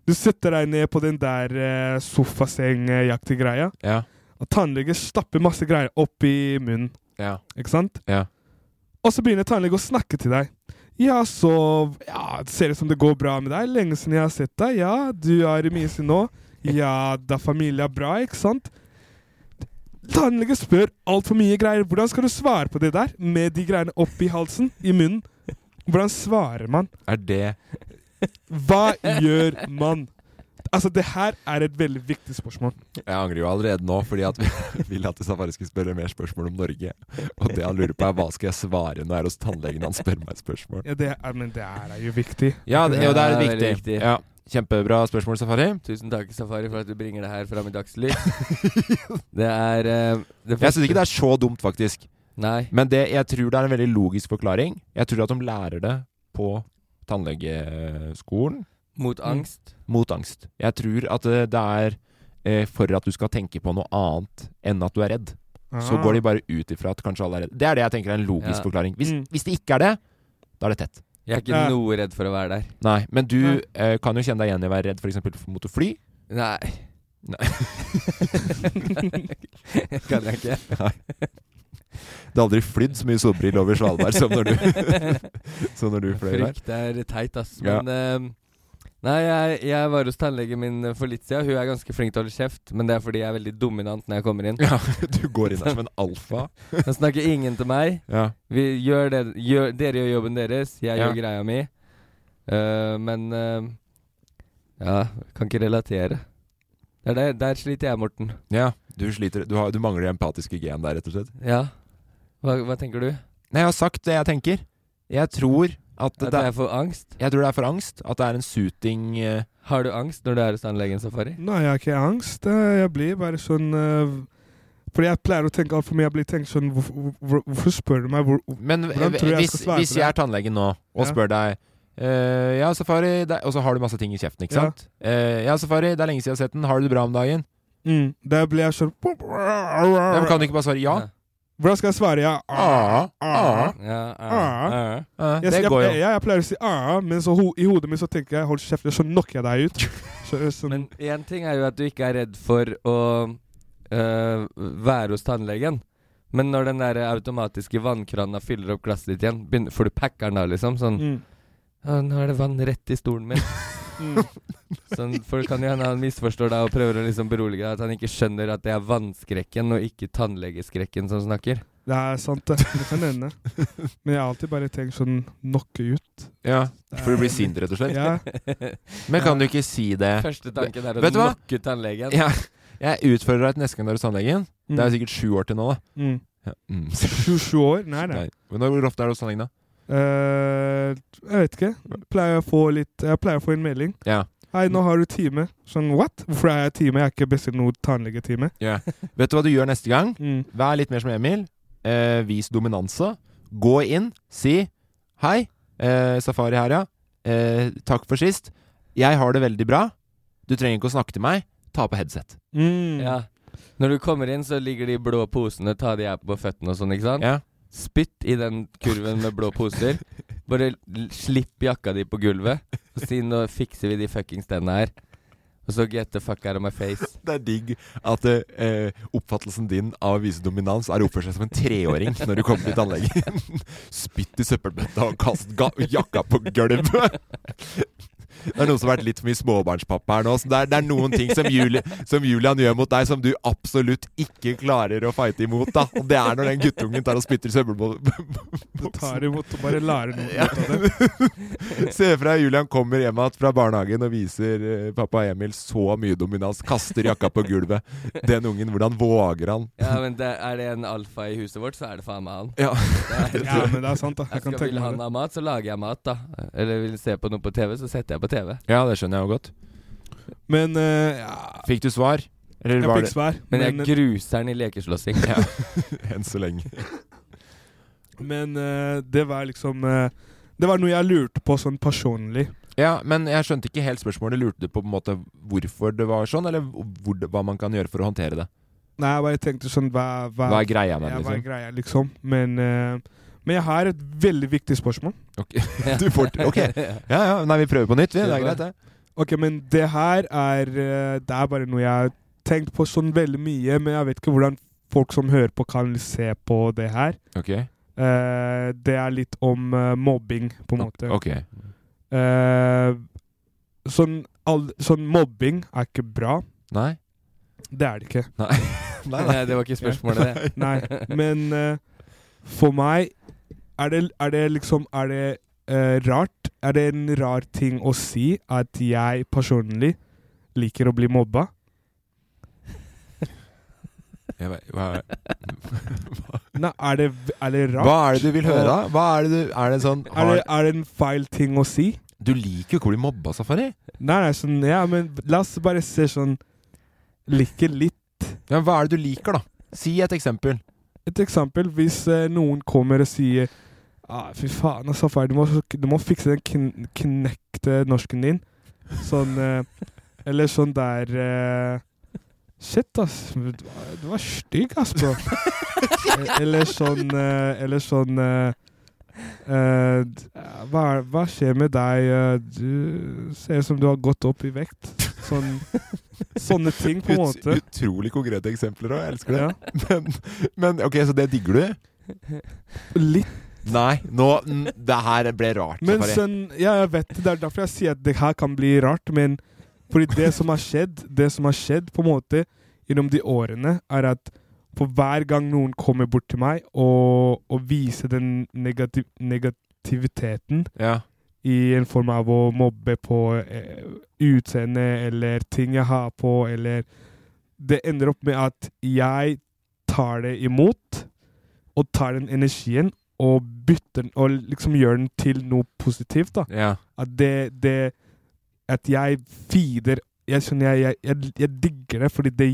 Du setter deg ned på den der eh, sofasengejaktige greia,
Ja.
og Og tannlege stapper masse greier opp i munnen.
Ja.
Ikke sant?
Ja.
Og så begynner tannlege å snakke til deg. Ja, så ja, det Ser ut som det går bra med deg. Lenge siden jeg har sett deg. Ja, du er i Mysen nå. Ja, da familien er bra, ikke sant? Tannlege spør altfor mye greier. Hvordan skal du svare på det der? Med de greiene opp i halsen, i munnen. Hvordan svarer man?
Er det
Hva gjør man? Altså, det her er et veldig viktig spørsmål.
Jeg angrer jo allerede nå, fordi at vi ville at jeg bare skulle spørre mer spørsmål om Norge. Og det han lurer på, er hva skal jeg svare når jeg er hos tannlegen han spør meg spørsmål?
Ja, det er, men det her er jo viktig.
Ja, det, jo, det er
Ja,
viktig.
veldig viktig.
Ja. Kjempebra spørsmål, Safari.
Tusen takk, Safari, for at du bringer det her fram i dagslys. det er eh, det
Jeg syns ikke det er så dumt, faktisk.
Nei.
Men det, jeg tror det er en veldig logisk forklaring. Jeg tror at de lærer det på tannlegeskolen.
Mot angst.
mot angst. Jeg tror at eh, det er eh, for at du skal tenke på noe annet enn at du er redd. Så
Ah.
går de bare ut ifra at kanskje alle er redd. Det er det jeg tenker er en logisk
Ja.
forklaring. Hvis,
Mm.
hvis det ikke er det, da er det tett.
Jeg er ikke
Ja.
noe redd for å være der.
Nei, men du
Nei.
eh, kan jo kjenne deg igjen i å være redd f.eks. mot å fly.
Nei.
Nei.
kan jeg ikke.
Det har aldri flydd så mye solbriller over Svalbard som når som når du
Frykt er teit, ass.
Ja.
Men eh, Nei, jeg, jeg var hos tannlegen min for litt siden. Hun er ganske flink til å holde kjeft, men det er fordi jeg er veldig dominant når jeg kommer inn.
Ja, du går inn der som en alfa.
Hun snakker ingen til meg.
Ja.
Vi gjør det, gjør, dere gjør jobben deres, jeg
Ja.
gjør greia mi. Eh, men eh, Ja, kan ikke relatere. Det er der, der sliter jeg, Morten.
ja. Du, sliter, du, har, du mangler det empatiske gen der, rett og slett.
Ja. Hva, hva tenker du?
Nei, jeg har sagt det jeg tenker. Jeg tror at
At
det er,
jeg får angst?
jeg tror det er for angst. At det er en suiting eh,
Har du angst når du er hos tannlegen, Safari?
Nei, jeg har ikke angst. Eh, Jeg blir bare sånn eh, Fordi jeg pleier å tenke altfor mye. Jeg blir tenkt sånn Hvorfor, hvor- hvorfor spør du meg? Hvor,
Men
Hvordan
eh,
tror jeg jeg
hvis,
skal svare
hvis
på
jeg
det?
er tannlegen nå og
Ja.
spør deg eh, Ja, Safari det er- Og så har du masse ting i kjeften, ikke
Ja.
sant? Eh, ja, Safari, det er lenge siden jeg har sett den. Har du det bra om dagen?
mm, der blir jeg sånn
Ja, men kan du ikke bare svare ja?
Hvordan skal jeg svare? Ja,
Ah, ah.
Ja,
Ah.
ja.
Eh, det
Jeg, jeg,
går
jeg,
jo.
jeg, pleier å si ah, men så ho, i hodet mitt så tenker jeg hold kjeft, eller så knocker jeg deg ut. Så, sånn,
Men én ting er jo at du ikke er redd for å øh, være hos tannlegen. Men når den der automatiske vannkrana fyller opp glasset ditt igjen, begynner, får du packeren da, liksom? Sånn
mm,
«Å, 'Nå er det vann rett i stolen min'.
mm.
Sånn, for det kan jo hende han misforstår deg og prøver å liksom berolige deg. At han ikke skjønner at det er vannskrekken og ikke tannlegeskrekken som snakker.
Det er sant, det. Det kan hende. Men jeg har alltid bare tenkt sånn knocke ut.
Ja, for du blir sint, rett og slett.
Ja.
Men kan du ikke si det?
Første tanken er å
Vet du hva?
knocke ut tannlegen.
Ja. Jeg utfordrer deg til neste gang du er hos tannlegen. Det er jo sikkert sju år til nå, da.
Mm.
Ja. Mm.
27 år? Nei, nei.
Nei. Men da- Hvor ofte er du hos tannlegen, da?
Eh, jeg vet ikke. Jeg Pleier å få litt, jeg pleier å få en melding.
Ja.
Hei, nå har du time. Sånn, what? Hvorfor er jeg time? Jeg har ikke bestilt noe tannlegetime.
Vet du hva du gjør neste gang?
Mm.
Vær litt mer som Emil. Eh, vis dominanse. Gå inn, si 'Hei, eh, Safari her, ja. Eh, takk for sist. Jeg har det veldig bra. Du trenger ikke å snakke til meg. Ta på headset.'
Mm.
Ja. Når du kommer inn, så ligger de blå posene, ta de her på føttene og sånn, ikke sant?
Ja.
Spytt i den kurven med blå poser. Bare l- slipp jakka di på gulvet. Og si 'nå fikser vi de fuckings tennene her'. Og så get the fuck out of my face.
Det er digg at eh, oppfattelsen din av å vise dominans er å oppføre seg som en treåring når du kommer til tannlegen. Spytt i søppelbøtta og kast ga jakka på gulvet! Det er noen som har vært litt for mye småbarnspappa her nå. Så det, er, det er noen ting som, Juli, som Julian gjør mot deg, som du absolutt ikke klarer å fighte imot. Da. Og det er når den guttungen tar og spytter i
Du
søppelboksen.
tar imot og bare lærer noe
Ja.
ut av det.
Se for deg Julian kommer hjem igjen fra barnehagen og viser eh, pappa Emil så mye dominans. Kaster jakka på gulvet. Den ungen, hvordan våger han?
Ja, men det, er det en alfa i huset vårt, så er det faen meg han.
Ja.
Det
Ja,
er,
men det er sant, da.
jeg
Jeg
skal
kan
vil
tenke
han
meg det.
ha mat, så lager jeg mat, da. Eller vil se på noe på TV, så setter jeg på TV.
Ja, det skjønner jeg jo godt.
Men eh, ja,
Fikk du svar? Eller
jeg
var
fikk
det
svar.
Men jeg
Men,
gruser den i lekeslåssing.
enn så lenge?
men eh, det var liksom eh, Det var noe jeg lurte på sånn personlig.
Ja, men jeg skjønte ikke helt spørsmålet. Lurte du på på en måte hvorfor det var sånn, eller hvor, hva man kan gjøre for å håndtere det?
Nei, jeg bare tenkte sånn Hva, hva,
Hva er greia med
ja,
det,
hva er
liksom?
greia, liksom? Men, eh, men jeg har et veldig viktig spørsmål.
Du får, ok, ja ja, nei, vi prøver på nytt, vi. Det er greit, det.
Ok, men det her er eh, Det er bare noe jeg tenkt på sånn veldig mye, men jeg vet ikke hvordan folk som hører på, kan se på det her.
Ok.
Eh, det er litt om eh, mobbing, på en måte.
Ok.
Eh, sånn, all, sånn mobbing er ikke bra.
Nei?
Det er det ikke.
Nei.
Nei, nei, det var ikke spørsmålet, det.
Nei. Men eh, for meg er det, er det liksom Er det eh, rart? Er det en rar ting å si at jeg personlig liker å bli mobba?
Jeg vet- Hva er,
Nei, er det, er det rart?
hva er det du vil høre, da? Hva er det du Er det sånn
Er det,
har,
er det en feil ting å si?
Du liker jo ikke å bli mobba, Safari.
Nei, nei, sånn, ja, men la oss bare se sånn Like litt.
Ja, men hva er det du liker, da? Si et eksempel.
Et eksempel, hvis eh, noen kommer og sier ah, Fy faen, altså, far, du, må, du må fikse den kn knekte norsken din. Sånn eh, Eller sånn der eh, Shit, ass. Du var- du var stygg, ass, bro. Eh, eller sånn eh, Eller sånn eh, eh, d- hva, er- hva skjer med deg? eh, Du ser ut som du har gått opp i vekt. Sånn, sånne ting, på
Ut,
en måte.
utrolig konkrete eksempler òg. Jeg elsker det.
Ja.
Men, men ok, så det digger du?
Litt
Nei, nå n- Det her ble rart,
Men
Safari.
sånn, ja, jeg vet det. Det er derfor jeg sier at det her kan bli rart. Men fordi det som har skjedd, det som har skjedd på en måte gjennom de årene, er at på hver gang noen kommer bort til meg og, og viser den negativ negativiteten
Ja.
i en form av å mobbe på eh, utseende eller ting jeg har på, eller Det ender opp med at jeg tar det imot, og tar den energien og bytter den, og liksom gjør den til noe positivt. da.
ja.
At det, det At jeg feeder jeg, skjønner, jeg, jeg, jeg, jeg digger det fordi det,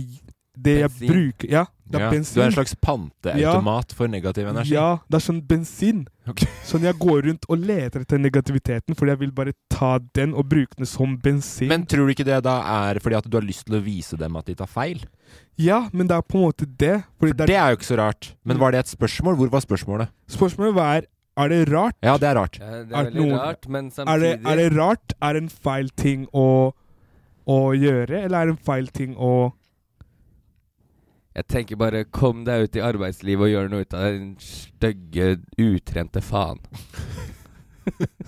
det jeg
Bensin.
bruker Ja, det er
ja.
bensin.
Du er en slags panteautomat for negativ energi?
Ja, det er sånn bensin.
Ok.
Sånn jeg går rundt og leter etter negativiteten, fordi jeg vil bare ta den og bruke den som bensin.
Men tror du ikke det da er fordi at du har lyst til å vise dem at de tar feil?
ja, men det er på en måte det. Fordi det
Det
er,
er jo ikke så rart. Men var det et spørsmål? Hvor var spørsmålet?
spørsmålet var er det rart?
Ja, det er rart.
Ja, det
Er
er
det
veldig
noen-
rart, men
Er det,
samtidig
er det rart? Er det en feil ting å, å gjøre, eller er det en feil ting å
Jeg tenker bare kom deg ut i arbeidslivet og gjør noe ut av den stygge, utrente faen.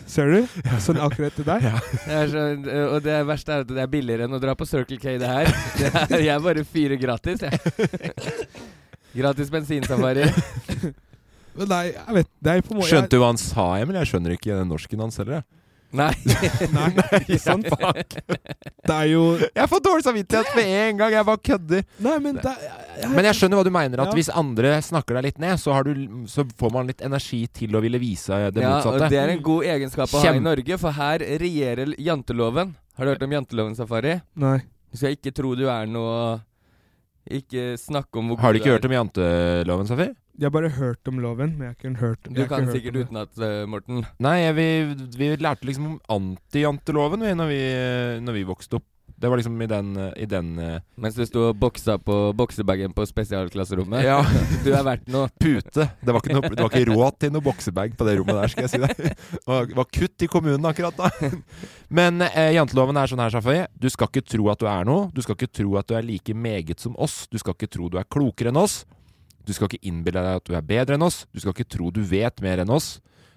Ser du? Sånn akkurat til deg.
Det er så, og det verste er at det er billigere enn å dra på Circle K, det her. Det er, jeg bare fyrer gratis, jeg. Gratis bensinsafari.
Men Nei, jeg vet det er på en måte
Skjønte du hva han sa, Emil? Jeg skjønner ikke den norsken hans heller. jeg.
Nei.
jeg, Nei, ikke sant? Det er jo
Jeg får dårlig samvittighet med en gang! Jeg bare kødder.
Nei, men det er
Men jeg skjønner hva du mener, at
Ja.
hvis andre snakker deg litt ned, så, har du, så får man litt energi til å ville vise det
ja, og
motsatte.
det er en god egenskap å ha
Kjempe-
i Norge, for her regjerer janteloven. Har du hørt om janteloven, Safari?
Nei.
Du skal ikke tro du er noe Ikke snakke om hvor
Har du
er.
ikke hørt om janteloven, Safi?
Jeg har bare hørt om loven, men jeg har ikke hørt jeg
Du
har ikke
kan
hørt
sikkert
om det.
utenat, eh, Morten.
Nei, jeg, vi, vi lærte liksom om antijanteloven vi, når, vi, når vi vokste opp. Det var liksom i den, i den eh,
Mens du sto og boksa på boksebagen på spesialklasserommet.
Ja.
Du er verdt noe.
pute. Det var, ikke noe, det var ikke råd til noe boksebag på det rommet der, skal jeg si deg. Det var, det var kutt i kommunen akkurat da. Men eh, janteloven er sånn her, Shafai. Du skal ikke tro at du er noe. Du skal ikke tro at du er like meget som oss. Du skal ikke tro du er klokere enn oss. Du skal ikke innbille deg at du er bedre enn oss. Du skal ikke tro du vet mer enn oss.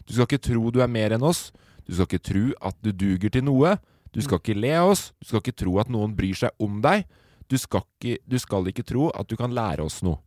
Du skal ikke tro du er mer enn oss. Du skal ikke tro at du duger til noe. Du skal ikke le av oss. Du skal ikke tro at noen bryr seg om deg. Du skal ikke, du skal ikke tro at du kan lære oss noe.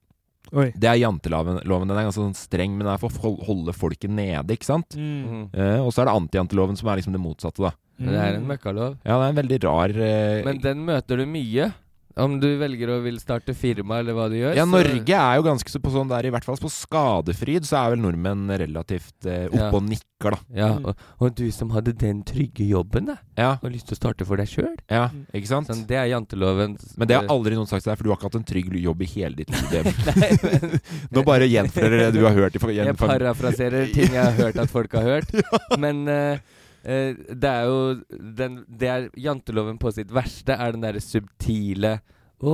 Oi.
Det er janteloven. Loven, Den er ganske sånn streng, men den er for å hol- holde folket nede, ikke sant?
Mm.
Mm.
Eh, og så er det antijanteloven som er liksom det motsatte, da.
Det er en møkkalov.
Ja, det er en veldig rar eh,
Men den møter du mye. Om du velger å vil starte firma, eller hva du gjør.
Ja,
så-
Norge er jo ganske så på sånn der, i hvert fall på skadefryd, så er vel nordmenn relativt eh, oppe
Ja.
og nikker, da.
Ja, og, og du som hadde den trygge jobben, da.
Ja,
Har lyst til å starte for deg sjøl.
ja, ikke sant?
Sånn, det er janteloven.
Mm.
Eh,
Men det har aldri noen sagt til deg, for du har ikke hatt en trygg jobb i hele ditt liv. Emil.
Nei, men
Nå bare gjenforteller det du har hørt. I, fa-
Jeg
gjenfam-
parafraserer ting jeg har hørt at folk har hørt. Men eh, eh, det er jo den, Det er janteloven på sitt verste, er den derre subtile å,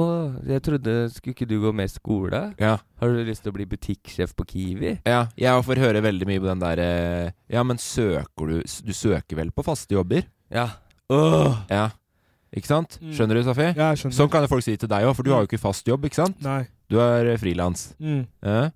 jeg trodde Skulle ikke du gå med i skole?
ja,
Har du lyst til å bli butikksjef på Kiwi?
ja, jeg får høre veldig mye på den der eh, Ja, men søker du Du søker vel på faste jobber?
Ja.
Ja. Ikke sant?
Mm.
Skjønner du, Safi?
Ja, jeg skjønner.
Sånn kan jo folk si til deg òg, for du har jo ikke fast jobb, ikke sant?
Nei.
Du er eh, frilans.
Mm.
Ja.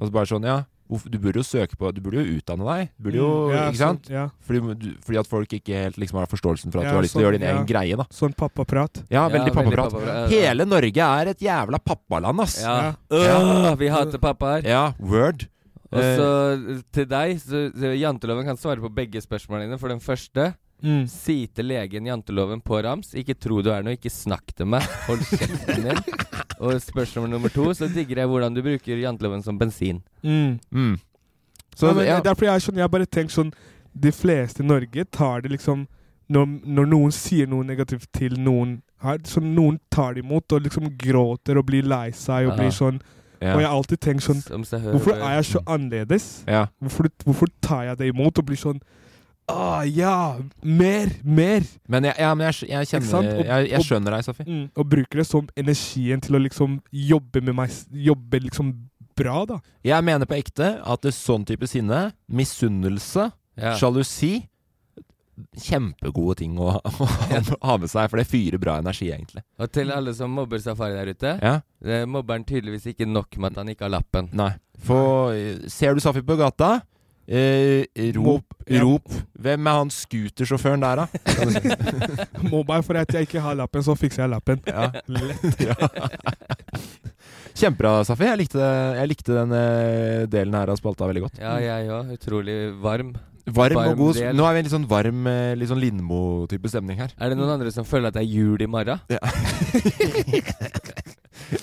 Og så bare sånn, ja hvorfor- Du burde jo søke på Du burde jo utdanne deg. Du burde jo,
Mm, ja,
ikke sant?
Sånn, ja.
Fordi, du- fordi at folk ikke helt liksom har forståelsen for at
Ja,
du har lyst til å
sånn,
gjøre din egen
ja.
greie, da.
sånn pappaprat.
Ja, veldig pappaprat.
pappaprat. Ja, ja.
Hele Norge er et jævla pappaland, ass. Ja,
Ja. Øh, vi hater pappaer.
word. Eh,
Og så til deg, så, så janteloven kan svare på begge spørsmålene dine. For den første
Mm.
si til legen janteloven på rams. Ikke tro du er noe, ikke snakk til meg. Hold kjeften din. Og spørsmål nummer to, så digger jeg hvordan du bruker janteloven som bensin.
Mm.
Mm. Så
ja, men,
ja,
Derfor jeg, er sånn, jeg har bare tenkt sånn De fleste i Norge tar det liksom når, når noen sier noe negativt til noen her, så noen tar det imot og liksom gråter og blir lei seg
Ja.
og blir sånn Og jeg
ja,
har alltid tenkt sånn
Som seg hører
Hvorfor
bør.
er
Mm.
jeg så annerledes?
ja.
Hvorfor, hvorfor tar jeg det imot og blir sånn Å ja! Mer! Mer!
Men jeg, ja, men jeg, skj- jeg
Ikke sant?
kjenner
Og-
Jeg, jeg
og-
skjønner deg, Safi.
Og bruker det som energien til å liksom jobbe med meg s- Jobbe liksom bra, da.
Jeg mener på ekte at det er sånn type sinne, misunnelse,
Ja.
sjalusi Kjempegode ting å, å ha med seg, for det fyrer bra energi, egentlig.
Og til alle som mobber Safari der ute.
Ja?
eh, Mobber han tydeligvis ikke nok med at han ikke har lappen.
Nei. For eh, ser du Safi på gata, eh, rop,
Ja.
rop Hvem er han scootersjåføren der, da?
Må bare for at jeg ikke har lappen, så fikser jeg lappen.
Ja.
Lett.
Ja. Kjempebra, Safi. Jeg likte, jeg likte den eh, delen her av spalta veldig godt.
Ja, jeg òg. Utrolig varm.
Varm,
Varm
og god
del.
Nå er vi en litt sånn varm, eh, litt sånn Lindmo-type stemning her.
Er det noen andre som føler at det er jul i morgen?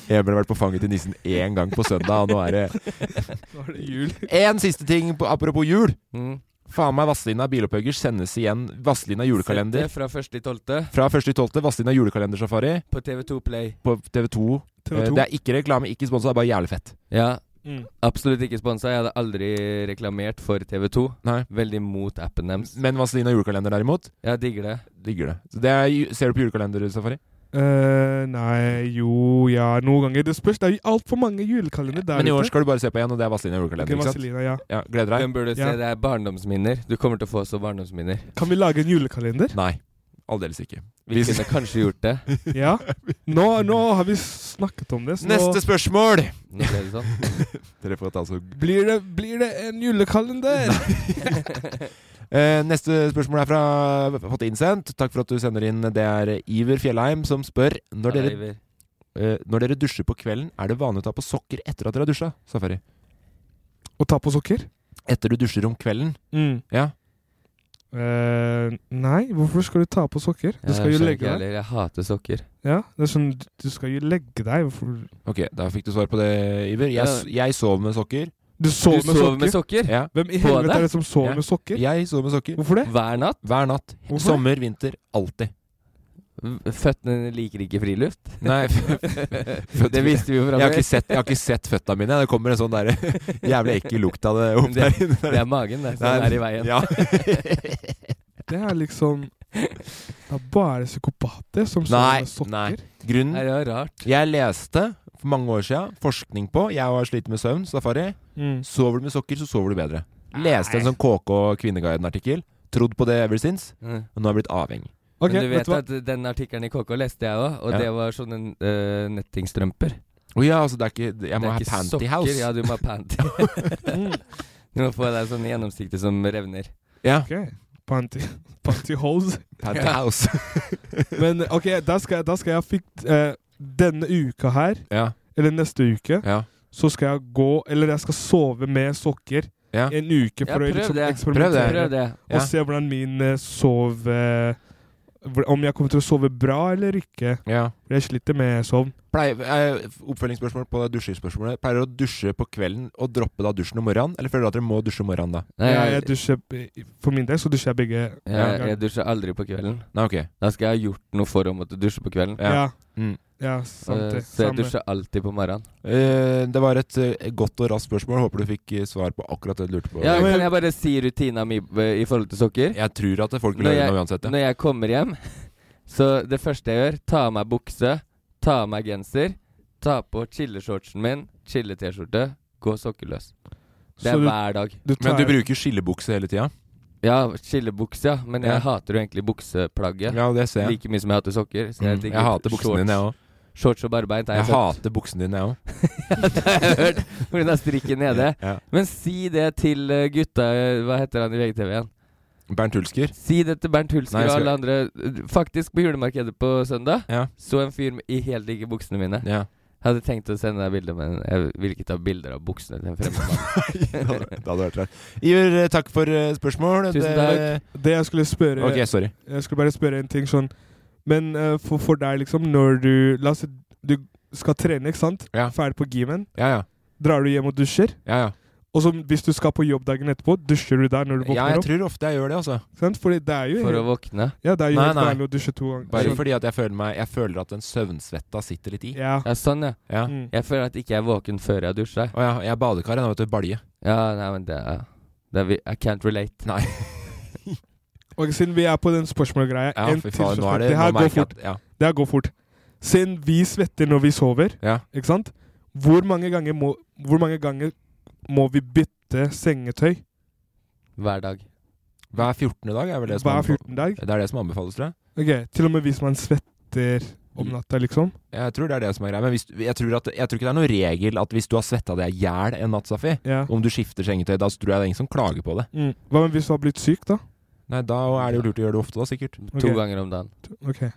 Jeg ble vært på fanget til nissen én gang på søndag, og nå er det
Nå er det jul.
En siste ting på, apropos jul.
Mm.
Faen meg, Vazelina Bilopphuggers sendes igjen. Vazelina julekalender.
Sett det Fra 1.12.
Fra 1.12. Vazelina julekalendersafari
på TV2 Play.
på TV2. Eh,
TV2.
Det er ikke reklame, ikke sponsa, det er bare jævlig fett.
Ja,
Mm.
absolutt ikke sponsa. Jeg hadde aldri reklamert for TV2.
Nei.
Veldig mot appen deres.
Men Vazelina julekalender, derimot,
Jeg digger det.
digger det. Så det er, ju- ser du på julekalendersafari?
Eh, nei, jo, ja, noen ganger. Det spørs. Det er jo altfor mange julekalender der
Men i år skal du bare se på én, og det er Vazelina
Ok,
julekalender. ikke sant?
Vaselina, ja.
Ja, gleder deg?
Hvem burde se?
Ja.
Det er barndomsminner. Du kommer til å få så barndomsminner.
Kan vi lage en julekalender?
Nei. Aldeles ikke.
Vi
Hvis-
kunne kanskje gjort det.
ja. Nå, nå har vi snakket om det, så
Neste spørsmål!
Nå ble det sånn.
Dere får ta altså
nå blir det, blir det en julekalender.
Eh, neste spørsmål er fra Fått innsendt. Takk for at du sender inn. Det er Iver Fjellheim som spør Når
Ja,
dere,
Iver.
eh, når dere dusjer på kvelden, er det vanlig å ta på sokker etter at dere har dusja? Safari.
Og ta på sokker?
Etter du dusjer om kvelden? Ja.
Eh, nei, hvorfor skal du ta på sokker? Du
Eh,
Ja,
skal jo
jeg skjønner
legge
ikke
deg.
heller. Jeg hater sokker.
Ja, det er sånn, du skal jo legge deg. Hvorfor?
Ok, da fikk du svar på det, Iver. Jeg, s- jeg sov med sokker.
Du
Du sover med
sover med
sokker?
sokker
Ja.
Hvem i
På
helvete
deg?
er det som sover
Ja.
med sokker?
Jeg sov med sokker
Hvorfor det?
hver natt.
hver natt.
Hvorfor?
Sommer, vinter, alltid.
Føttene liker ikke friluft.
Nei,
Det visste vi jo fra
Jeg har
før.
ikke sett, jeg har ikke sett føtta mine. Det kommer en sånn der jævlig ekkel lukt av det opp der inne.
Det er magen det, som
Nei,
er i veien.
Ja.
Det er liksom Det er bare psykopater som
Nei,
sover med sokker.
nei.
Nei,
Grunnen
Det er rart.
Jeg leste for mange år siden forskning på Jeg har slitt med søvn, safari.
Mm.
Sover du med sokker, så sover du bedre.
Ah,
Leste en
Nei.
sånn KK Kvinneguiden-artikkel. Trodd på det ever since.
Mm.
Og nå er jeg blitt avhengig.
Ok,
Men du vet,
vet du hva?
at den artikkelen i KK leste jeg òg, og
Ja.
det var sånne eh, nettingstrømper.
Å ja, altså det er ikke Jeg må
det er
ha
ikke
panty
sokker,
house.
Ja,
Ja.
du må ha panty. du må få deg sånn gjennomsiktig som revner.
Ok. Panty, panty holes.
Panty
Ja.
house.
Men ok, da skal, da skal jeg fik, eh, Denne uka her,
ja.
eller neste uke,
Ja.
så skal jeg gå Eller jeg skal sove med sokker
Ja.
en uke
Ja,
for å
prøv
liksom
det.
eksperimentere.
Prøv det.
Ja.
Og se hvordan min eh, sov... eh, hvor- om jeg kommer til å sove bra eller ikke.
ja.
For Jeg sliter med sovn.
Pleier, eh, oppfølgingsspørsmål på det dusjespørsmålet. Pleier dere å dusje på kvelden og droppe da dusjen om morgenen? Eller føler dere at dere må dusje om morgenen da?
Nei,
jeg,
jeg,
jeg dusjer, for min del så dusjer jeg begge.
jeg, jeg dusjer aldri på kvelden.
Nei, ok.
Da skal jeg ha gjort noe for å måtte dusje på kvelden.
Ja.
Ja, ja,
Mm.
sant
Eh,
det.
så jeg
Samme.
dusjer alltid på morgenen.
Eh, det var et eh, godt og raskt spørsmål. Håper du fikk eh, svar på akkurat det du lurte på.
Ja,
men-
kan jeg bare si rutina mi eh, i forhold til sokker?
Jeg tror at folk vil
Når
høre
jeg-
noe uansett. Ja.
Når jeg kommer hjem, så det første jeg gjør, ta av meg bukse, ta av meg genser, ta på chilleshortsen min, chille-T-skjorte, gå sokkeløs. Det
Så
er
du-
hver dag.
du
Men
tar-
du bruker skillebukse hele tida?
Ja, skillebuks, ja. Men jeg
Ja.
hater jo egentlig bukseplagget.
Ja, det ser jeg.
Like mye som jeg hater sokker. Så jeg,
Mm. Jeg hater buksene dine, jeg òg.
òg. Shorts og barbeint er
Jeg
jeg født.
hater buksene dine, jeg òg.
Det har jeg hørt pga. strikken nede.
Ja.
Men si det til eh, gutta eh, Hva heter han i VGTV igjen?
Bernt Hulsker.
Si det til Bernt Hulsker
Nei, jeg
og
skal-
alle andre. Faktisk, på julemarkedet på søndag
Ja.
så en fyr med- i helt like buksene mine.
Ja.
Jeg hadde tenkt å sende deg bilde, men jeg vil ikke ta bilder av buksene til en fremmed mann.
det hadde det hadde vært rart. Iver, eh, takk for eh, spørsmål.
Tusen
Det-
Det jeg skulle spørre
Ok, sorry.
Jeg skulle bare spørre en ting sånn Men eh, for, for deg, liksom, når du La oss si du skal trene, ikke sant?
Ja.
Ferdig på gamen.
Ja, ja.
Drar du hjem og dusjer?
ja, ja.
Og så hvis du skal på jobb dagen etterpå, dusjer du der når du
ja
våkner
jeg
opp?
tror ofte jeg gjør det, altså.
ikke Sant? Fordi det er jo
For å
helt,
våkne.
ja, det er jo
Nei,
helt
nei.
vanlig å dusje to ganger. Sånn-
Bare
Så-
fordi at jeg føler meg Jeg føler at den søvnsvetta sitter litt i.
ja.
Ja, sånn, ja.
Ja.
Mm.
Jeg føler at ikke jeg er våken før jeg dusjer.
Å ja, jeg er badekar, jeg nå, vet du. Balje.
Ja, nei, men det er, det er vi- I can't relate.
Nei.
Ok, Siden vi er på den spørsmålgreia
Ja,
en
fy
til
faen. Nå
spørsmål.
er det
det
nå
her går
merker jeg
fort.
at ja.
Det her går fort. Siden vi svetter når vi sover,
Ja.
ikke sant? Hvor mange ganger må, hvor mange ganger må vi bytte sengetøy?
Hver dag.
Hver 14. dag er vel det som
Hver
anbefales?
14 dag?
Det er det som anbefales, tror jeg.
Ok, Til og med hvis man svetter om
Mm.
natta, liksom?
Jeg tror det er det som er greia. Men hvis, jeg, tror at, jeg tror ikke det er noen regel at hvis du har svetta deg i hjel en natt, Safi,
Ja.
om du skifter sengetøy, da tror jeg det er ingen som klager på det.
Mm. Hva med hvis du har blitt syk, da?
Nei, da er det jo lurt å gjøre det ofte, da, sikkert.
To
Ok.
ganger om dagen.
Ok.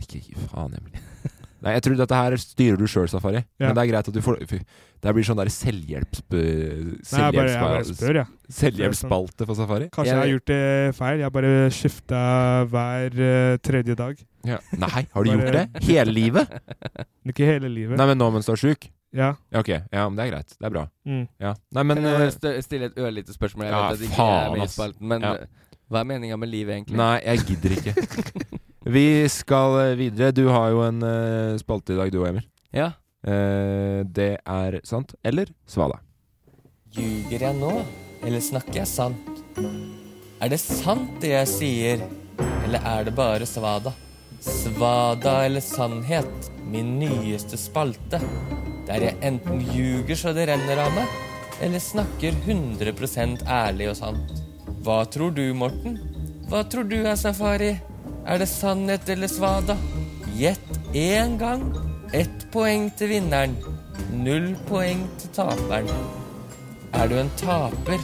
Ikke gi faen, Emil. Nei, jeg tror dette her styrer du sjøl, Safari.
Ja.
Men det er greit at du får Fy, det her blir sånn der selvhjelps...
Nei, jeg bare, jeg bare
Selvhjelpsspalte
spør, jeg. Ja.
selvhjelpsspalte for Safari.
Jeg-
Kanskje jeg har gjort det feil. Jeg bare skifta hver eh, tredje dag.
Ja. Nei, har du
Bare-
gjort det? Hele livet?
Men Ikke hele livet.
Nei, men nå mens du er sjuk?
Ja.
Ja, ok. Ja, men det er greit. Det er bra.
Mm.
Ja. Nei, men
Men jeg
eh,
vil stø- stille et ørlite spørsmål. Jeg
Ja,
vet at det ikke
faen,
er med i
ass.
spalten, men
Ja.
eh, hva er meninga med livet, egentlig?
eh, Nei, jeg gidder ikke. Vi skal eh, videre. Du har jo en eh, spalte i dag, du og Emil.
Ja.
Eh, det er sant eller svada.
Ljuger jeg nå, eller snakker jeg sant? Er det sant det jeg sier, eller er det bare svada? Svada eller sannhet, min nyeste spalte. Der jeg enten ljuger så det renner av meg, eller snakker 100 ærlig og sant. Hva tror du, Morten? Hva tror du er safari? Er det sannhet eller svada? Gjett én gang. Ett poeng til vinneren. Null poeng til taperen. Er du en taper,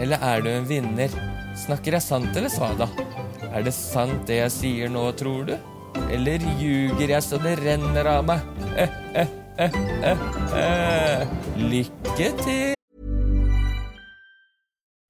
eller er du en vinner? Snakker jeg sant eller svada? Er det sant det jeg sier nå, tror du? Eller ljuger jeg så det renner av meg? Eh, eh, eh, eh, eh. Lykke til!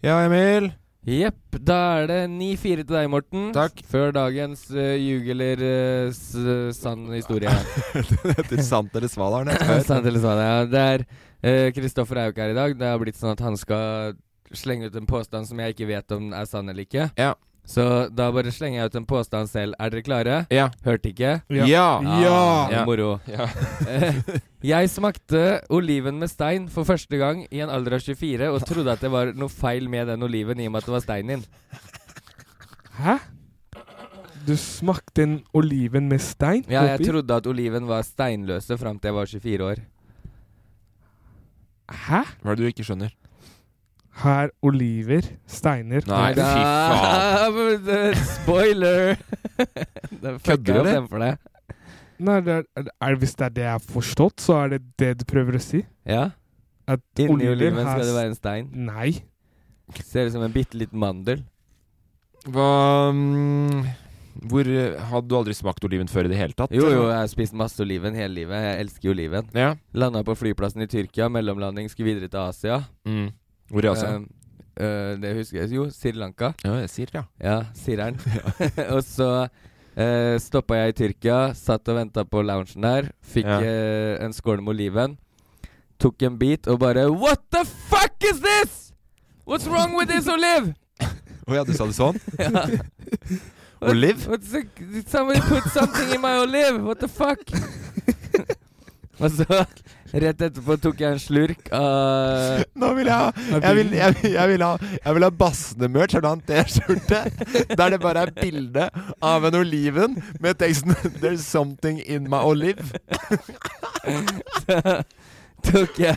Ja, Emil.
Jepp. Da er det 9-4 til deg, Morten. Takk Før dagens uh, ljug eller eh, s sann historie.
Til sant eller sval, Arne.
Sant eller sant, ja. Det er eh, Kristoffer er jo ikke her i dag. Det har blitt sånn at han skal slenge ut en påstand som jeg ikke vet om er sann eller ikke. Så da bare slenger jeg ut en påstand selv. Er dere klare?
Ja.
Hørte ikke?
Ja. Ja.
Ah,
Ja.
Moro.
Ja.
Eh, jeg smakte oliven med stein for første gang i en alder av 24 og trodde at det var noe feil med den oliven i og med at det var stein din.
Hæ? Du smakte en oliven med stein?
Ja, jeg
oppi?
trodde at oliven var steinløse fram til jeg var 24 år.
Hæ?
Hva er det du ikke skjønner?
Her oliver, steiner
Nei, fy faen.
Ah, men det- Spoiler!
Kødder du, eller?
eller?
Nei, det er, er, er, hvis det er det jeg har forstått, så er det det du prøver å si?
Ja.
At
Inni
oliver
oliven
har
skal det
s-
være en stein.
Nei.
Ser ut som en bitte liten mandel.
Hva mm, Hvor eh, Hadde du aldri smakt oliven før i det hele tatt?
Jo, jo, jeg har spist masse oliven hele livet. Jeg elsker jo oliven.
Ja.
Landa på flyplassen i Tyrkia, mellomlanding, skulle videre til Asia.
Mm. Hvor i Asia?
Eh, eh, det husker jeg. Jo, Sri Lanka.
Ja, jeg sier ja.
Ja, Sireren. og så uh, stoppa jeg i Tyrkia, satt og venta på loungen der. Fikk
Ja.
eh, en skål med oliven. Tok en bit og bare What the fuck is this?! What's wrong with this olive?!
Å ja, du sa det sånn?
ja.
Olive?
What, what's the, somebody put something in my olive! What the fuck? og så, rett etterpå tok jeg en slurk av
Nå vil jeg ha Jeg vil, jeg, vil- jeg vil ha, jeg vil ha Bassene-merch. Har du en T-skjorte der det bare er bilde av en oliven med teksten 'There's something in my olive'?
tok jeg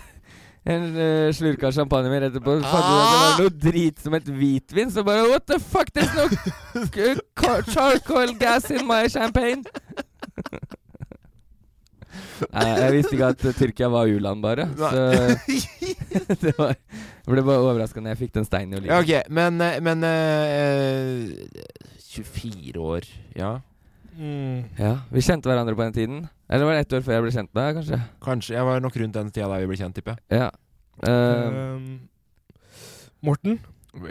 en eh, slurk av champagne min etterpå. Så fant jeg ut at det var noe drit som het hvitvin. Så bare What the fuck? There's no c- ca- charcoal gas in my champagne. Nei, jeg visste ikke at eh, Tyrkia var u-land, bare. Så det var, jeg ble bare overraska når jeg fikk den steinen i
Ja,
oliven.
ok, men, eh, men eh, eh, 24 år, ja.
Mm.
Ja, vi kjente hverandre på den tiden. Eller var det ett år før jeg ble kjent med deg, kanskje?
Kanskje. Jeg var nok rundt den tida da vi ble kjent, tipper jeg.
Ja. Eh,
Ehm, Morten,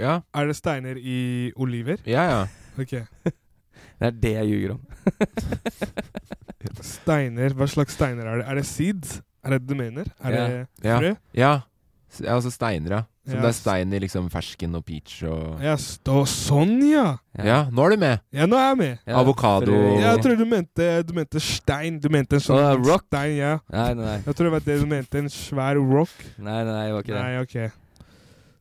Ja,
er det steiner i oliver?
ja. ja.
Ok. Eh,
det er det jeg ljuger om.
Steiner, hva slags steiner er det? Er det seeds? Er det det du mener? Er
Ja.
det
Ja.
frø?
ja. S- ja altså steiner, ja. Som
Ja,
det er
s-
stein i liksom fersken og peach og
Ja, stå sånn, ja!
Ja, nå er du med!
Ja, nå er jeg med.
Ja,
Avokado.
frø-
Jeg tror du mente, du mente stein. Du mente en sånn
Å, rock?
stein, ja.
Nei, nei, nei.
Jeg tror det var det du mente. En svær rock.
Nei, nei, det var ikke det.
Nei, ok.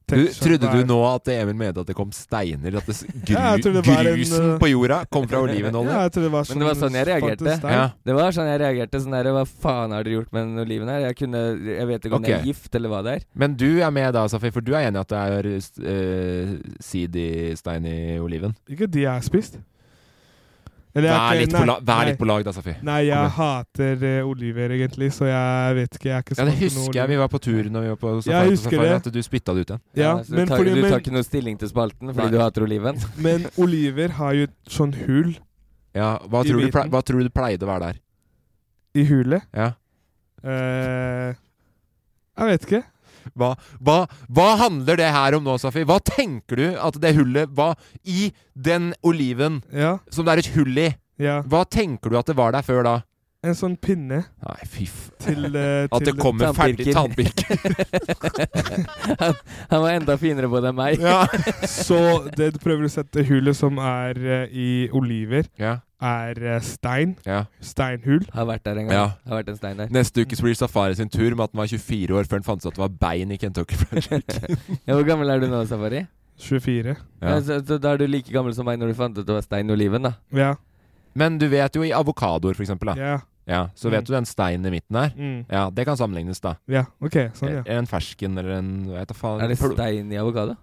Du,
Tenkte sånn,
trodde
hva
du
er-
nå at Emil mente at det kom steiner? At det s- gru,
Ja, jeg tror det var en,
grusen
eh,
på jorda kom fra
Ja,
olivenolje?
jeg tror det var
Men det var sånn jeg reagerte.
fant en stein.
Ja.
Det var sånn jeg reagerte. Sånn der, Hva faen har dere gjort med den oliven her? Jeg, kunne, jeg vet ikke om det
Ok.
er gift, eller hva det er.
Men du er med da, Safi, for du er enig i at det er eh, sid i stein i oliven?
Ikke de jeg har spist. Eller jeg har
Vær
ikke-
litt
nei,
på, la, vær
nei.
litt på lag da, Safi.
Nei, jeg
Kom
hater eh, oliver egentlig, så jeg vet ikke. Jeg har ikke
Ja, det
smakt på noe
husker jeg. Vi var på tur når vi var på safari,
Jeg
på
husker
safari
det.
at du spytta det ut igjen.
Ja,
så du,
men,
tar,
fordi,
du tar
men,
ikke noe stilling til spalten fordi
Nei.
du hater oliven?
men oliver har jo et sånn hull
Ja, hva, tror
I
du,
biten.
plei- hva tror du pleide å være der?
i hulet.
Ja.
Eh, jeg vet ikke.
Hva, hva, hva handler det her om nå, Safi? Hva tenker du at det hullet var i den oliven
Ja,
som det er et hull i?
ja.
Hva tenker du at det var der før da?
En sånn pinne
Nei, fy f...
til, eh,
At
til
det kommer ferdig
tannpirker.
tannpirker.
han, han var enda finere på det enn meg.
ja.
Så det du prøver å sette hullet som er eh, i oliver,
ja.
er eh, stein.
Ja.
Steinhull.
Har vært der en gang.
Ja.
Har vært en stein der.
Neste uke så blir Safari sin tur med at den var 24 år før den fant ut at det var bein i Kentucky Fried Chicken.
Ja, hvor gammel er du nå, Safari?
24.
Ja.
Ja. Så, så da er du like gammel som meg når du fant ut det var stein i oliven, da.
Ja.
Men du vet jo i avokadoer, for eksempel. Da.
Ja.
Ja, så vet
Mm.
du den steinen i midten her?
Mm.
Ja, det kan sammenlignes, da.
ja. OK, sånn, ja.
Eh, En fersken eller en jeg vet da faen.
Er det
Pl-
stein i avokado?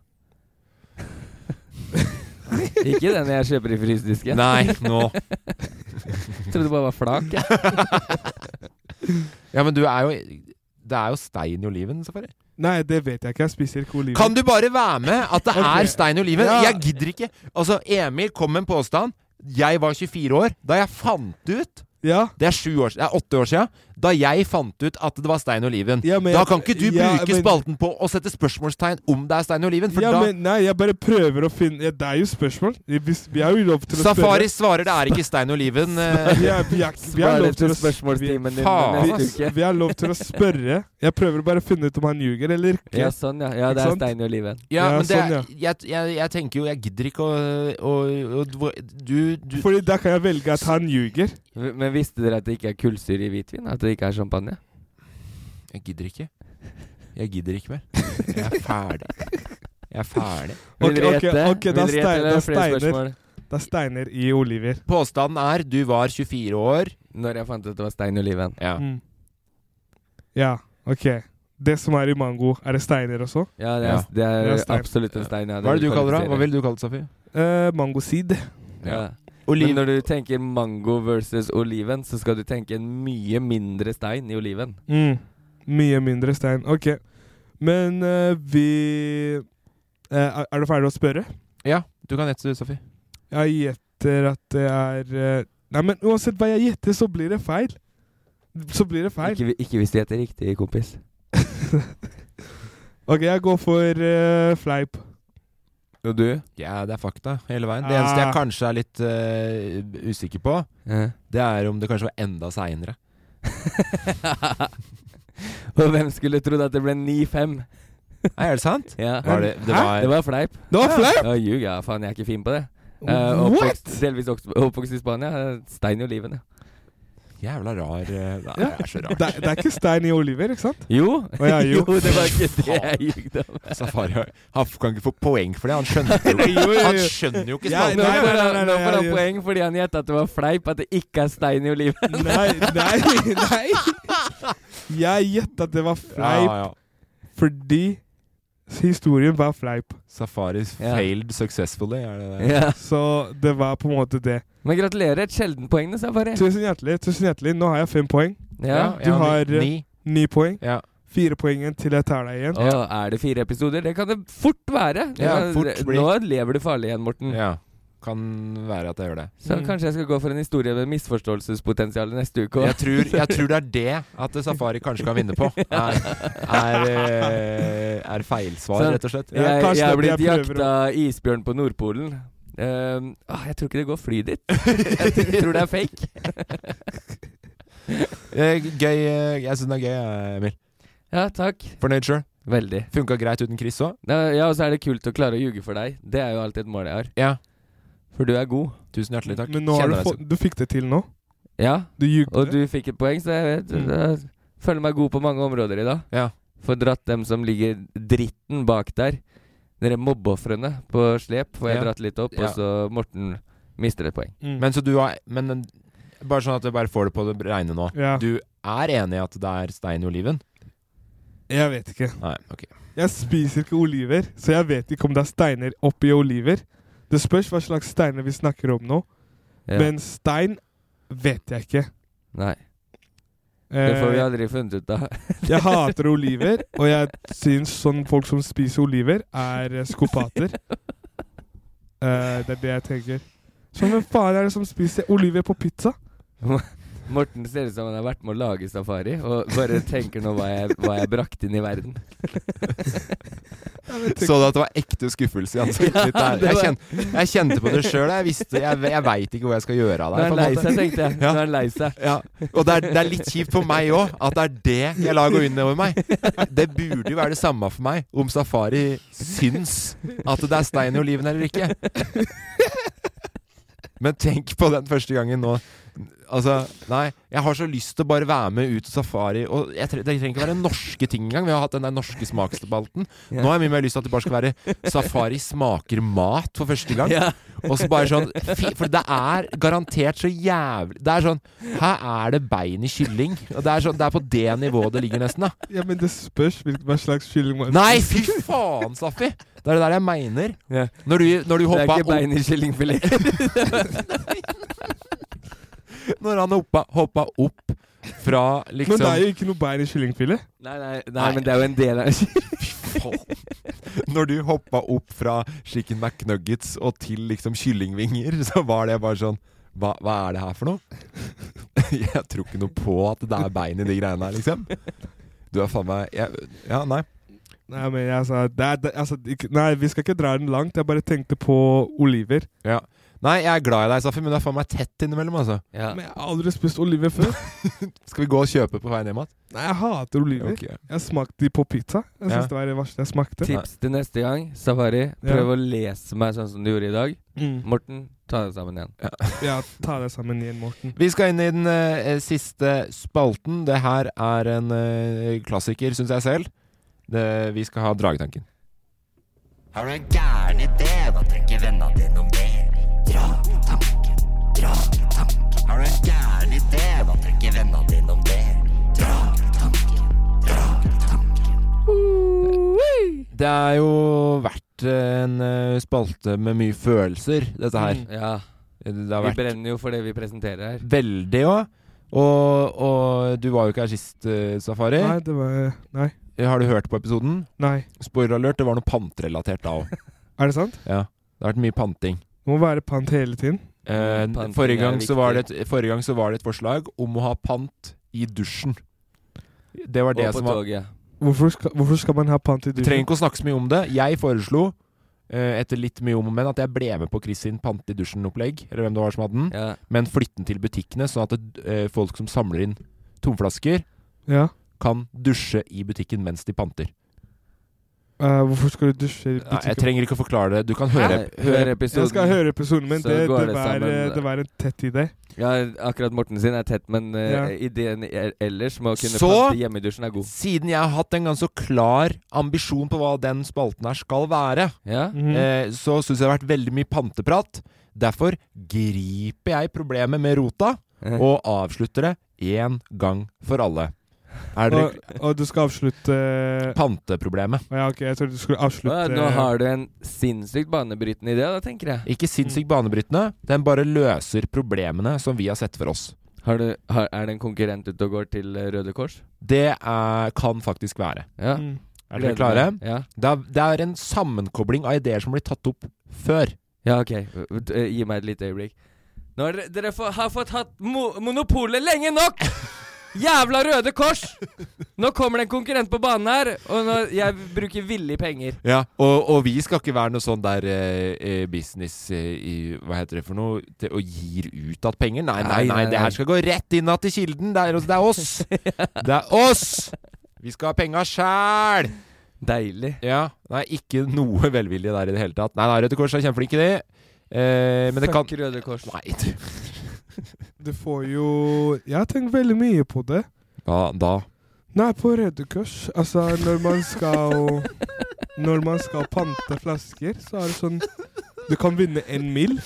ikke den jeg kjøper i frysedisken.
Nei, nå
Trodde det bare var flak. jeg.
Ja, men du er jo Det er jo stein i oliven, Safari.
Nei, det vet jeg ikke. Jeg spiser ikke oliver.
Kan du bare være med at det
Ok.
er stein i oliven?
Ja.
Jeg gidder ikke. Altså, Emil kom med en påstand. Jeg var 24 år da jeg fant ut
Ja.
Det er sju år, s- det er åtte år sia. da jeg fant ut at det var Stein Oliven.
Ja, men
da
jeg-
kan ikke du
ja,
bruke
men-
spalten på å sette spørsmålstegn om det er Stein Oliven, for
ja,
da
men, nei, jeg bare prøver å finne ja, Det er jo spørsmål. Vi, vi har jo lov til å
Safari
spørre.
svarer det er ikke Stein Oliven. eh.
Vi er- vi er- vi har lov til å
spørsmålstimen din
Faen,
neste
ass.
uke.
Vi har lov til å spørre. Jeg prøver bare å finne ut om han ljuger eller ikke.
Ja, sånn, ja. Ja,
Ikke
det er
sant?
Stein i livet.
Ja,
Ja,
men det,
sånn,
jeg, jeg, jeg tenker jo Jeg gidder ikke å, å, å, du, du
Fordi da kan jeg velge at han ljuger.
Men visste dere at det ikke er kullsyre i hvitvin? At det ikke er champagne?
Jeg gidder ikke. Jeg gidder ikke mer. Jeg er ferdig. Jeg er ferdig.
Vil
Ok,
dere
ok,
gjette?
ok, da
Vil dere gjette,
steiner-
eller er det flere
da steiner.
spørsmål?
Det er steiner i Oliver.
Påstanden er du var 24 år.
Når jeg fant ut det var Stein Oliven.
Ja.
Mm. Ja, OK. Det som er i mango, er det steiner også?
Ja, det
Ja.
er, det er,
Det er stein.
absolutt en stein. Ja,
Hva er det du kaller det?
kvalifiserer.
Hva ville du kalt det, Safi?
Uh, mangosid.
Ja.
Oliv-
Men når du tenker mango versus oliven, så skal du tenke en mye mindre stein i oliven.
Mm. Mye mindre stein. OK. Men eh, vi eh, Er er du ferdig å spørre?
Ja, du kan gjette, du, Safi.
Jeg gjetter at det er eh, Nei, men uansett hva jeg gjetter, så blir det feil. Så blir det feil.
Ikke, ikke hvis du heter riktig, kompis.
OK, jeg går for eh, fleip.
Og du?
Ja, det er fakta hele veien. Det eneste jeg
Ah.
kanskje er litt eh, usikker på,
Ja.
det er om det kanskje var enda seinere.
Og hvem skulle trodd at det ble 9-5?
Nei, er det sant?
Ja.
Var det, det var,
Det var fleip.
Det var fleip!
Ja, ljug, ja. Faen, jeg er ikke fin på det. Eh,
What?!
oppvokst, delvis oppvokst- oppvokst i Spania. eh, Stein i oliven, ja.
Jævla rar eh, Nei,
Ja.
Det er så
Det,
rart.
er- det er ikke stein i Oliver, ikke sant?
Jo!
Å, ja, jo.
det var ikke det jeg ljugde om.
Safari har- han kan ikke få poeng for det. Han skjønner jo,
Nei, jo, jo, jo.
Han skjønner jo ikke
Ja,
Nå
spalten.
nei, nei,
får
nei,
han
nei,
nå
nei,
får han
jeg-
poeng fordi han gjetta at det var fleip, at det ikke er stein i oliven.
Nei, nei, nei. Jeg gjetta at det var fleip
Ja, ja.
fordi historien var fleip.
Safaris
Ja.
failed successfully, er det det?
Ja.
Så det var på en måte det.
Men gratulerer. Et sjeldenpoeng, det, Safari.
Tusen hjertelig. tusen hjertelig Nå har jeg fem poeng.
Ja.
du har,
ni-
eh,
ni.
Ni poeng.
Ja.
Fire poeng igjen til jeg tar deg igjen.
Å, er det fire episoder? Det kan det fort være. Det
Ja,
kan-
fort
det-
blir-
Nå lever du farlig igjen, Morten.
ja. Kan være at jeg gjør det.
Så
Mm.
kanskje jeg skal gå for en historie med misforståelsespotensial neste uke.
Jeg
også.
tror, jeg tror det er det at Safari kanskje kan vinne på. Er, er, eh, er feilsvar,
Sånn.
rett og slett.
Ja,
jeg,
kanskje
jeg er
det er
blitt
det jeg prøver
jakta isbjørn på Nordpolen. Ehm, ah, jeg tror ikke det går fly dit. jeg tror- jeg tror det er fake.
Eh, Gøy. eh, Jeg syns den er gøy, eh, Emil.
Ja, takk.
Fornøyd sjøl?
Veldig.
Funka greit uten Chris òg?
Da- Ja, Og så er det kult å klare å ljuge for deg. Det er jo alltid et mål jeg har.
Ja.
For du er god.
Tusen hjertelig takk.
Men nå har du,
Kjenner deg
fått, du fikk det til nå.
Ja,
Du
og
jugde.
du fikk et poeng, så jeg vet jeg føler meg god på mange områder i dag.
Ja.
Får dratt dem som ligger dritten bak der. Dere mobbeofrene på slep får jeg
Ja.
dratt litt opp,
Ja.
og så Morten mister et poeng.
Mm.
som- Men så du har Men eh, bare sånn at jeg bare får det på det reine nå.
ja.
Du er enig i at det er stein i oliven?
Jeg vet ikke.
Nei, ok.
Jeg spiser ikke oliver, så jeg vet ikke om det er steiner oppi oliver. Det spørs hva slags steiner vi snakker om nå,
Ja.
men stein vet jeg ikke.
Nei, det får vi
Eh,
aldri funnet ut av.
jeg hater oliver, og jeg syns sånn folk som spiser oliver, er eh, skopater. Eh, det er det jeg tenker. Så hvem faen er det som spiser oliver på pizza?
Morten ser ut som han har vært med å lage safari, og bare tenker nå hva jeg, hva jeg brakte inn i verden.
Så du at det var ekte skuffelse i ansiktet ditt der?
det
Jeg,
var-
kjen, jeg kjente på det sjøl. Jeg visste Jeg, jeg veit ikke hvor jeg skal gjøre av
Nå er
deg.
han
på en
lei
måte.
seg, tenkte jeg. Nå
Ja.
er han lei seg.
Ja, Og det er, det er litt kjipt for meg òg, at det er det jeg lar gå inn over meg. Det burde jo være det samme for meg om Safari syns at det er stein i oliven eller ikke. Men tenk på den første gangen nå. Altså, nei. Jeg har så lyst til å bare være med ut til safari. Og jeg tre det trenger ikke være norske ting engang. Vi har hatt den der norske smaksdebatten. Nå har jeg mye mer lyst til at det bare skal være safari smaker mat for første gang.
Ja.
Og så bare sånn fy, For det er garantert så jævlig Det er sånn Her er det bein i kylling. Og det er, sånn, det er på det nivået det ligger, nesten. da
Ja, men det spørs hvil- hva slags kylling man
Nei, fy faen, Saffi! Det er det der jeg mener.
Ja.
Når du, når du
Det er
hoppa
ikke bein i kyllingfilet.
Når han hoppa, hoppa opp fra
Men
liksom
det er jo ikke noe bein i kyllingfilet.
Nei, nei, nei, men det er jo en del av
Faen. liksom Når du hoppa opp fra chicken McNuggets og til liksom kyllingvinger, så var det bare sånn Hva, hva er det her for noe? Jeg tror ikke noe på at det er bein i de greiene her, liksom. Du er faen meg jeg, Ja, nei.
Nei, men altså, det er, det, altså ikke, nei, vi skal ikke dra den langt. Jeg bare tenkte på oliver.
Ja. Nei, jeg er glad i deg, Safi, men du er faen meg tett innimellom, altså.
Men jeg har aldri spist oliver før.
Skal vi gå og kjøpe på veien hjem igjen?
Nei, jeg hater oliver.
Ok.
Jeg smakte de på pizza. Jeg synes
Ja.
det var det verste jeg smakte.
Tips til neste gang, Safari. Prøv å lese meg sånn som du gjorde i dag.
Mm.
Morten, ta deg sammen igjen.
Ja, ta deg sammen igjen, Morten.
Vi skal inn i den eh, siste spalten. Det her er en eh, klassiker, syns jeg selv. Det, vi skal ha Dragetanken.
Har du en gæren idé, da trenger vennene dine om mer. Dra tanken, dra tanken. Har du en gæren idé, da trenger vennene dine om mer. Dra tanken, dra tanken.
Det er jo vært en eh, spalte med mye følelser, dette her.
Mm. Ja.
Det har
vi
vært
brenner jo for det vi presenterer her.
veldig òg. Og, og du var jo ikke her sist, eh, Safari. Eh,
Nei, det var Nei.
Har du hørt på episoden?
Nei.
Spoiler alert, det var noe pantrelatert da òg.
Er det sant?
ja. Det har vært mye panting.
Det må være pant hele tiden.
Eh,
Panting
forrige,
er
gang så var det et, forrige gang så var det et forslag om å ha pant i dusjen. Det var det
Og på
som var
toget.
Hvorfor skal, hvorfor skal man ha pant i
Vi
dusjen?
trenger ikke å snakke så mye om det. Jeg foreslo, eh, etter litt mye om og men, at jeg ble med på Chris sin pante i dusjen-opplegg, eller hvem det var som hadde den,
Ja.
men flytte den til butikkene, sånn at det, eh, folk som samler inn tomflasker,
Ja.
kan dusje i butikken mens de panter.
Eh, hvorfor skal du dusje i
Nei, jeg
butikken?
trenger ikke å forklare det. Du kan høre,
Nei, hør
høre
episoden.
Jeg skal høre episoden, men
Så
det,
går
det,
det
var, eh,
sammen.
det var en tett idé.
Ja, akkurat Morten sin er tett, men eh,
Ja.
ideen i- ellers med å kunne
Så-
plante hjemme i dusjen er god.
Siden jeg har hatt en ganske klar ambisjon på hva den spalten her skal være,
Ja?
Mhm.
eh, så syns jeg det har vært veldig mye panteprat. Derfor griper jeg problemet med rota og avslutter det én gang for alle. Er dere
Og, og du skal avslutte
Panteproblemet.
Å Ja, ok, jeg trodde du skulle avslutte
Å ja, nå har du en sinnssykt banebrytende idé, da, tenker jeg.
Ikke sinnssykt banebrytende. Den bare løser problemene som vi har sett for oss.
Har du, har, er det en konkurrent ute og går til eh, Røde Kors?
Det er, kan faktisk være.
Ja.
Mm.
Er dere
Gleder
klare?
meg. Ja.
Det er, det er en sammenkobling av ideer som blir tatt opp før.
ja, ok. V- d- eh, Gi meg et lite øyeblikk. Nå har dere, dere få- har fått hatt mo monopolet lenge nok! Jævla Røde Kors! Nå kommer det en konkurrent på banen her, og nå, jeg bruker villig penger.
Ja, og, og vi skal ikke være noe sånn der eh, eh, business eh, i Hva heter det for noe? Til, og gir utad penger? Nei, nei,
Nei,
nei,
nei,
det
nei.
her skal gå rett innad til kilden. Det er, det er oss! Det er oss! Vi skal ha penga sjæl!
Deilig.
Ja. Nei, ikke noe velvilje der i det hele tatt. Nei, nei Røde Kors er kjempeflinke, de. Eh, men det kan
Fuck Røde Kors.
Nei, du.
Du får jo Jeg har tenkt veldig mye på det.
Ja, da
Nei, på Røde Kors. Altså, når man skal Når man skal pante flasker, så er det sånn Du kan vinne en mil.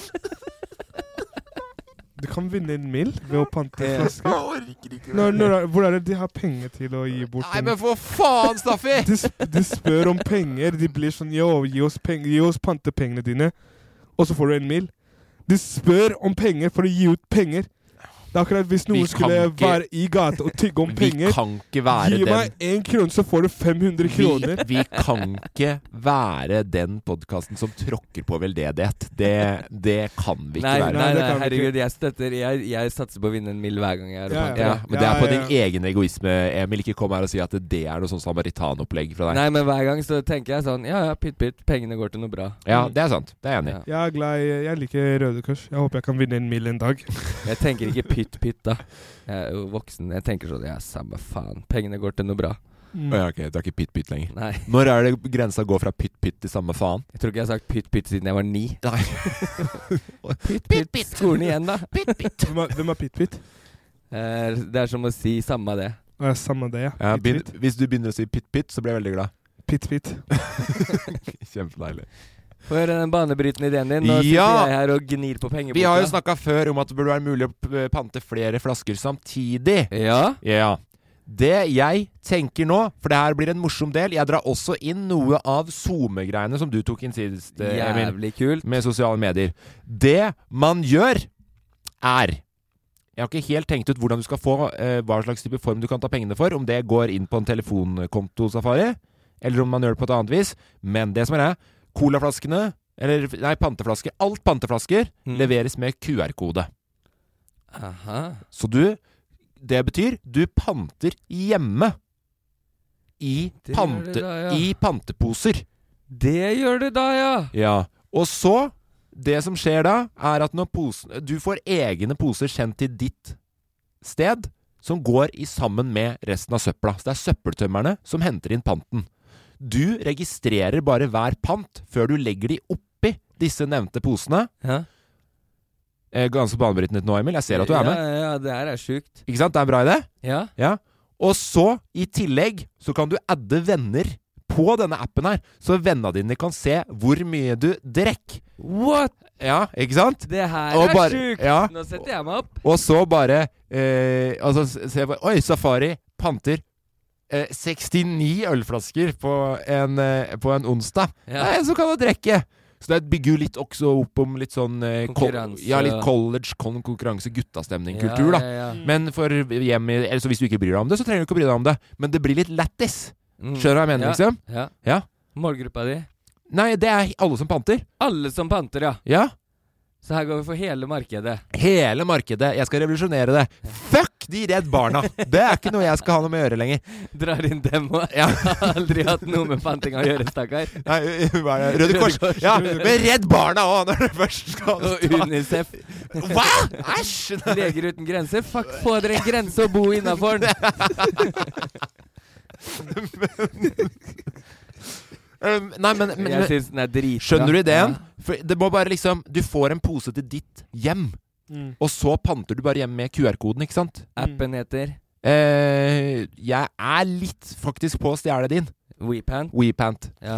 Du kan vinne en mil ved å pante flasker.
orker ikke
Når, når, er- hvor er det de har penger til å gi bort?
Nei,
en-
men for faen, Staffi!
de, sp- de spør om penger. De blir sånn Yo, gi oss, peng- gi oss pantepengene dine, og så får du en mil. De spør om penger for å gi ut penger. Det er akkurat hvis
Vi
noen
kan
skulle
ikke-
være i gata og tygge om
Vi
penger.
kan ikke være
Gi
den
meg én krone, så får du 500
vi,
kroner.
vi kan ikke være den podkasten som tråkker på veldedighet. Det, det kan vi ikke
Nei,
være.
nei,
Nei, det
nei,
kan vi
herregud, jeg støtter Jeg, jeg satser på å vinne en mild hver gang jeg er
Ja,
opphengig.
Ja, men det er på
Ja, ja,
din egen egoisme, Emil. Ikke kom her og si at det er noe sånn samaritanopplegg fra deg.
Nei, men hver gang så tenker jeg sånn Ja ja, pytt pytt, pengene går til noe bra. Mm.
Ja, det er sant. Det er jeg enig i.
Ja.
Jeg er glad i Jeg liker Røde Kors. Jeg håper jeg kan vinne en mil en dag.
Jeg tenker ikke pytt pytt, da. Jeg er jo voksen. Jeg tenker sånn Ja, samme faen. Pengene går til noe bra.
Mm.
Å Ja, ok, det er ikke pytt-pytt lenger.
Nei.
Når er det grensa går fra pytt-pytt til samme faen?
Jeg tror ikke jeg har sagt pytt pytt siden jeg var ni.
Nei.
Pytt pytt. Skolen igjen, da.
Hvem er- Hvem er Pit-Pit?
Eh, Det er som å si samme det.
Ja, samme det, ja.
Ja, begynn-
Pit-Pit.
hvis du begynner å si pytt-pytt, så blir jeg veldig glad.
Pit-Pit.
Kjempedeilig.
Få høre den banebrytende ideen din. Nå
Ja!
sitter jeg her og gnir på pengeboka.
Vi har jo snakka før om at det burde være mulig å p- pante flere flasker samtidig.
Ja?
Ja. Det jeg tenker nå, for det her blir en morsom del Jeg drar også inn noe av SoMe-greiene som du tok inn sist, eh, Emil.
Jævlig kult.
Med sosiale medier. Det man gjør, er Jeg har ikke helt tenkt ut hvordan du skal få eh, hva slags type form du kan ta pengene for. Om det går inn på en telefonkonto-safari, eller om man gjør det på et annet vis. Men det som er, det, colaflaskene eller, Nei, panteflasker. Alt panteflasker
Mm.
leveres med QR-kode.
Aha.
Så du Det betyr du panter hjemme. I,
Det gjør
pante,
det da, ja.
I panteposer.
Det gjør du da, ja.
Ja. Og så Det som skjer da, er at når posen, du får egne poser sendt til ditt sted, som går i sammen med resten av søpla. Så det er søppeltømmerne som henter inn panten. Du registrerer bare hver pant før du legger de oppi disse nevnte posene. Eh, Ganske banebrytende nå, Emil. Jeg ser at du er med.
Ja, ja, det her er sjukt.
Ikke sant? Det er en bra idé?
Ja.
Og så, i tillegg, så kan du adde venner på denne appen her. Så vennene dine kan se hvor mye du drekk.
What?
Ja, ikke sant?
Det her
Og
er
bare-
sjukt!
ja.
Nå setter jeg meg opp.
Og så bare eh, Altså, s- se på Oi, Safari panter eh, 69 ølflasker på en, eh, på en onsdag.
Ja.
Det er en som kan drikke. Så det bygger jo litt også opp om litt sånn eh, kol-
Konkurranse.
Ja, litt college, kon- konkurranse, guttastemning,
Ja,
kultur, da.
ja, ja.
Men for hjem i eller, så Hvis du ikke bryr deg om det, så trenger du ikke å bry deg om det. Men det blir litt lættis.
Mm.
Skjønner du hva jeg mener,
Ja,
liksom?
ja.
ja.
Målgruppa di?
Nei, det er alle som panter.
Alle som panter, ja.
Ja.
Så her går vi for hele markedet.
Hele markedet. Jeg skal revolusjonere det. Fuck de Redd Barna! Det er ikke noe jeg skal ha noe med å gjøre lenger.
Drar inn dem og Har aldri hatt noe med panting å gjøre, stakkar.
Nei, hva er det? Røde Kors. Ja, men Redd Barna òg, når det først skal
Og Unicef.
Hva?! Æsj!
Leger uten grenser. Fuck, få dere en grense og bo innafor den!
Um, nei, men, men
Jeg synes den er dritbra.
Skjønner du ideen?
Ja.
For det må bare liksom Du får en pose til ditt hjem,
Mm.
og så panter du bare hjem med QR-koden, ikke sant?
Appen heter
Eh, jeg er litt faktisk på å stjele din.
WePant.
WePant.
Ja.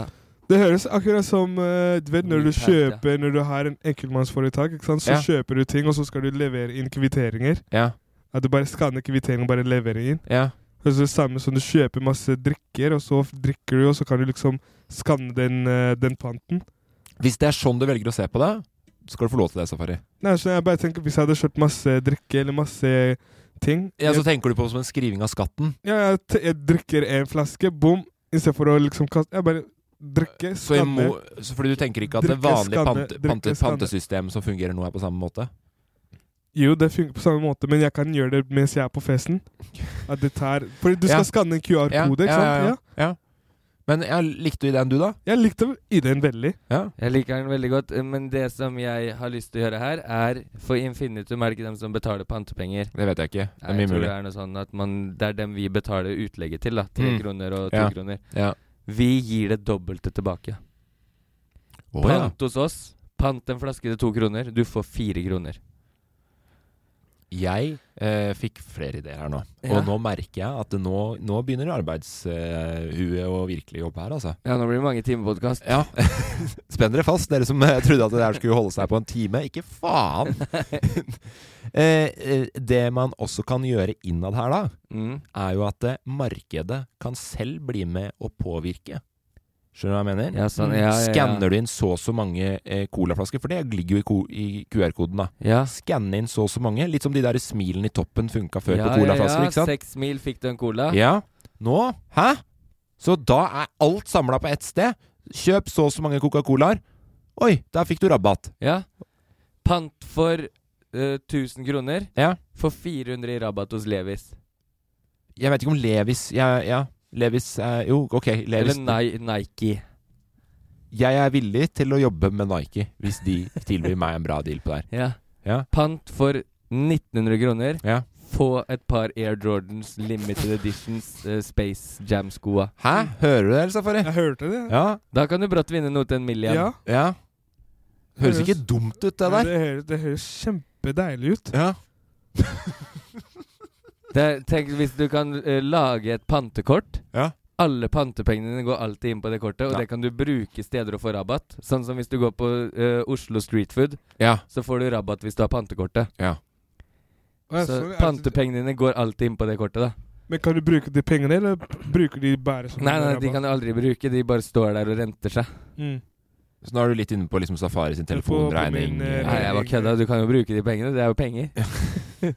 Det høres akkurat som eh, du vet, når du
Mye pent,
kjøper Når du har en enkeltmannsforetak, ikke sant? så
Ja.
kjøper du ting, og så skal du levere inn kvitteringer.
Ja.
At du bare skanner kvitteringen og bare leverer inn.
Ja.
Og så det samme som du kjøper masse drikker, og så f- drikker du, og så kan du liksom skanne den, eh, den panten.
Hvis det er sånn du velger å se på det, skal du få lov til det, Safari.
Nei, så jeg bare tenker Hvis jeg hadde kjøpt masse drikke eller masse ting
Ja, altså- Så
jeg,
tenker du på det som en skriving av skatten.
ja, jeg, t- jeg drikker en flaske, bom, istedenfor å liksom kaste Jeg bare drikker,
Så i
skanner.
mo så fordi du tenker ikke at det
Drikke,
vanlige
skanne,
pante,
drikke,
pante,
skanne.
pantesystem som fungerer nå, er på samme måte?
Jo, det funker på samme måte, men jeg kan gjøre det mens jeg er på festen. At det tar Fordi du skal
Ja.
skanne en QR-kode,
Ja,
ikke
ja,
sant?
ja, ja. Men jeg likte ideen du, da?
Jeg likte ideen veldig.
Jeg liker den veldig godt, eh, men det som jeg har lyst til å gjøre her, er For Infinitum er det ikke dem som betaler pantepenger?
Det vet jeg ikke. Det er
Nei,
mye
jeg tror
mulig.
det er noe sånn at man, det er dem vi betaler utlegget til, da. Tre
Mm.
kroner og to
Ja.
kroner.
Ja.
Vi gir det dobbelte tilbake.
Å, ja.
Pant hos oss. Pant en flaske til to kroner. Du får fire kroner.
Jeg eh, fikk flere ideer her nå.
Ja.
Og nå merker jeg at det nå, nå begynner arbeidshuet å virkelig jobbe her, altså.
Ja, nå blir det mange timer podkast.
Ja. Spenn dere fast, dere som eh, trodde at det her skulle holde seg på en time. Ikke faen! eh, eh, det man også kan gjøre innad her, da,
Mm.
er jo at eh, markedet kan selv bli med å påvirke. Skjønner du hva jeg mener?
Ja, sånn, ja, ja, ja.
Skanner du inn så og så mange eh, colaflasker, for det ligger jo i, ko- i QR-koden, da.
Ja.
Skanne inn så og så mange. Litt som de der smilene i toppen funka før
ja,
på colaflasker,
ja,
ikke sant?
Seks mil fikk du en cola.
Ja. Nå Hæ? Så da er alt samla på ett sted. Kjøp så og så mange Coca-Colaer. Oi, der fikk du rabatt.
Ja. Pant for eh, 1000 kroner.
Ja.
For 400 i rabatt hos Levis.
Jeg vet ikke om Levis Ja, ja. Levis eh, Jo, ok. Levis.
Eller Ni Nike.
Jeg er villig til å jobbe med Nike hvis de tilbyr meg en bra deal på det her.
Ja.
Ja.
Pant for 1900 kroner.
Ja.
Få et par Air Jordans Limited Editions eh, Space Jam-skoa.
Hæ? Hører du det, eller, Safari?
Jeg hørte det.
Ja.
Da kan du brått vinne noe til en million.
Ja.
ja. Høres
Høres-
ikke dumt ut, det
Men
der.
Det høres, det høres kjempedeilig ut.
Ja.
Det, er- tenk hvis du kan eh, lage et pantekort.
Ja.
Alle pantepengene dine går alltid inn på det kortet, og
Ja.
det kan du bruke steder og få rabatt. Sånn som hvis du går på eh, Oslo Street Food,
Ja.
så får du rabatt hvis du har pantekortet.
ja.
Og jeg
Så
så- jeg-
pantepengene dine går alltid inn på det kortet, da.
Men kan du bruke de pengene, eller bruker de bare som
Nei, nei, de kan du aldri bruke. De bare står der og renter seg.
Mm.
Så nå er du litt inne på liksom Safari sin
På- på
telefonregning.
min, eh,
Nei, jeg bare kødda. Du kan jo bruke de pengene. Det er jo penger.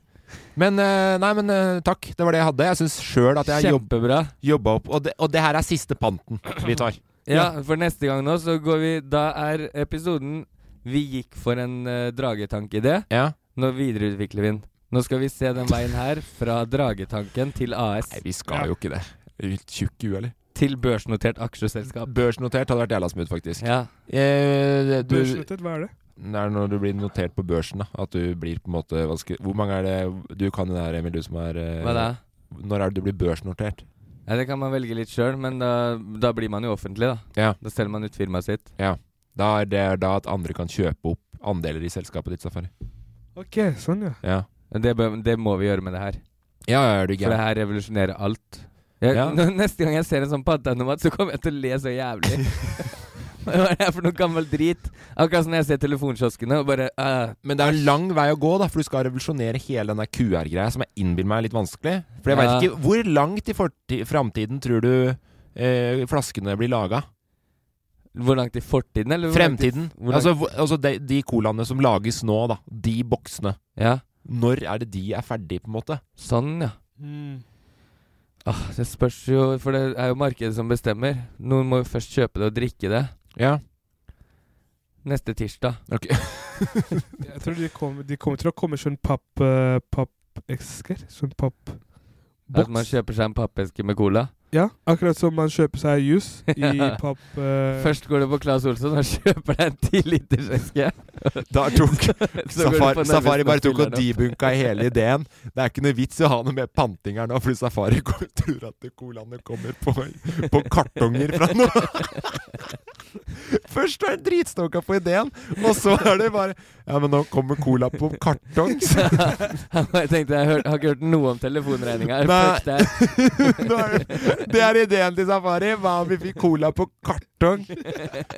Men eh, nei, men eh, takk. Det var det jeg hadde. Jeg syns sjøl at jeg jobb,
Kjempebra.
jobba opp. Og det, og det her er siste panten vi tar.
Ja, for neste gang nå så går vi Da er episoden Vi gikk for en uh, dragetankeidé.
Ja.
Nå videreutvikler vi den. Nå skal vi se den veien her, fra dragetanken til AS. Nei,
vi skal jo ikke det. Tjukk i huet, eller?
Til børsnotert aksjeselskap.
Børsnotert hadde vært jævla smooth, faktisk.
Ja.
Eh, du,
Børsnotert, hva er det?
Det er når du blir notert på børsen, da. At du blir på en måte hva skal, Hvor mange er det Du kan jo det her, Emil, du som er eh,
Hva da?
Når er det du blir børsnotert?
Ja, det kan man velge litt sjøl, men da, da blir man jo offentlig, da.
Ja.
Da selger man ut firmaet sitt.
Ja. Da er det da at andre kan kjøpe opp andeler i selskapet ditt, Safari.
Ok, sånn ja.
Ja.
Det, bør, det må vi gjøre med det her.
Ja, ja, er du
For det
gæren.
her revolusjonerer alt. Jeg,
Ja.
nå, neste gang jeg ser en sånn paddeautomat, så kommer jeg til å le så jævlig. Hva er det her for noe gammel drit? Akkurat som når jeg ser telefonkioskene og bare ah,
Men det er en lang vei å gå, da, for du skal revolusjonere hele den der QR-greia, som jeg innbiller meg er litt vanskelig. For jeg
Ja.
vet ikke Hvor langt i forti- framtiden tror du eh, flaskene blir laga?
Hvor langt i fortiden, eller? hvor langt i-
Fremtiden.
hvor langt-
Altså, hvor- altså de, de colaene som lages nå, da. De boksene.
Ja.
Når er det de er ferdige, på en måte?
Sånn, ja.
Hmm.
Ah, det spørs jo, for det er jo markedet som bestemmer. Noen må jo først kjøpe det og drikke det.
Ja.
Neste tirsdag.
Ok.
Jeg tror de kommer, de kommer til å komme sånn papp eh, pappesker. Sånn
At man
pappboks.
kjøper seg en pappeske med cola.
Ja, akkurat som man kjøper seg jus i papp... eh,
Først går du på Claes Olsson og kjøper deg en 10 liters eske.
Da tok
Så
Safari,
går du på nærmeste
Safari bare tok og
spilleren opp.
debunka i hele ideen. Det er ikke noe vits i å ha noe mer panting her nå, fordi Safari går- tror at colaene kommer på, på kartonger fra nå. Først er han dritstonka på ideen, og så er det bare Ja, men nå kommer cola på kartong. Så
Jeg tenkte, jeg hør, har ikke hørt noe om telefonregninga.
Nei.
Fuck det.
nå er det, det er ideen til Safari. Hva om vi fikk cola på kartong?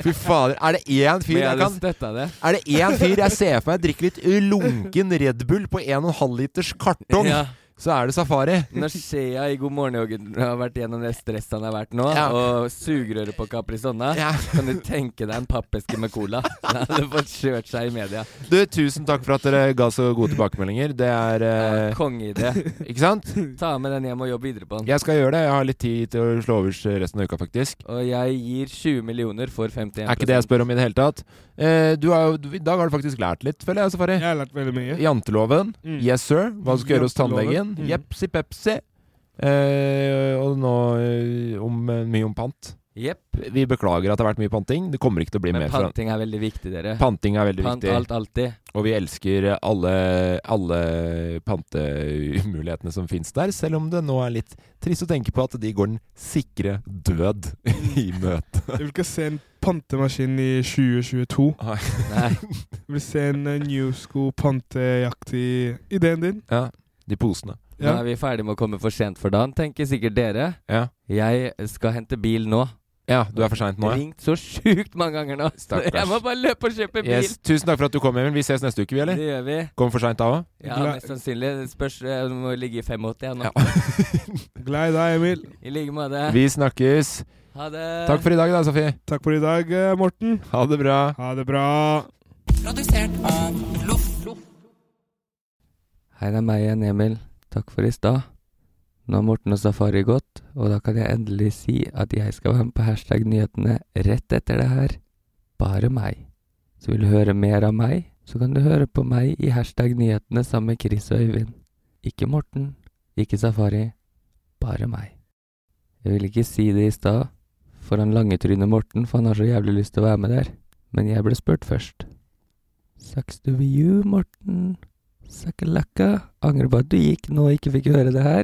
Fy fader. Er det én fyr
Men jeg
jeg
hadde
kan
støtta det.
Er det én fyr jeg ser for meg drikker litt lunken Red Bull på 1,5 liters kartong,
Ja.
så er det Safari.
Når Shea i God morgen Jørgen har vært gjennom det stresset han har vært nå,
Ja.
og sugerøret på Caprisonna,
Ja.
kan du tenke deg en pappeske med cola? Han hadde fått kjørt seg i media.
Du, tusen takk for at dere ga så gode tilbakemeldinger. Det er eh,
Kongeidé.
Ikke sant?
Ta med den hjem og jobb videre på den.
Jeg skal gjøre det. Jeg har litt tid til å slå overs resten av uka, faktisk.
Og jeg gir 20 millioner for 51
Er ikke det jeg spør om i det hele tatt. Eh, du har, jo- du- I dag har du faktisk lært litt, føler jeg, Safari.
Jeg har lært veldig mye.
Janteloven.
Mm.
Yes, sir. Hva du skal gjøre hos
Janteloven.
tannlegen.
Mm.
Jepsi pepsi. Eh, og nå eh, om, eh, mye om pant.
Jepp.
Vi beklager at det har vært mye panting. Det kommer ikke til å bli
Men
mer. fra-
panting er veldig viktig, dere.
Panting er veldig
Pant
viktig.
alt alltid.
Og vi elsker alle, alle pantemulighetene som finnes der, selv om det nå er litt trist å tenke på at de går den sikre død i møte.
Jeg vil ikke se en pantemaskin i 2022.
Nei.
Nei.
Jeg vil se en eh, New School pantejakt i ideen din.
Ja, de posene.
Nå
Ja.
er vi ferdig med å komme for sent for dagen, tenker sikkert dere.
Ja,
Jeg skal hente bil nå.
ja du er for seint nå, ja.
Ringt så sjukt mange ganger nå.
Stakkars.
Jeg må bare løpe og kjøpe bil.
Yes. Tusen takk for at du kom, Emil. Vi ses neste uke, vi, eller?
Det gjør vi.
Kom for seint da òg?
Ja,
Glad-
mest sannsynlig. Det Spørs Jeg må ligge i 85 nå.
Ja.
Glad i deg, Emil.
I like måte.
Vi snakkes.
Ha det.
Takk for i dag, da, Sofie.
Takk for i dag, eh, Morten.
Ha det bra.
Ha det bra.
Produsert av Loff.
Hei, det er meg igjen, Emil. Takk for i stad. Nå har Morten og Safari gått, og da kan jeg endelig si at jeg skal være med på hashtag nyhetene rett etter det her. Bare meg. Så vil du høre mer av meg, så kan du høre på meg i hashtag nyhetene sammen med Chris og Øyvind. Ikke Morten, ikke Safari, bare meg. Jeg ville ikke si det i stad, for han langetrynet Morten, for han har så jævlig lyst til å være med der. Men jeg ble spurt først. Sucks to be you, Morten. Sakalakka. Angrer på at du gikk nå og ikke fikk høre det her.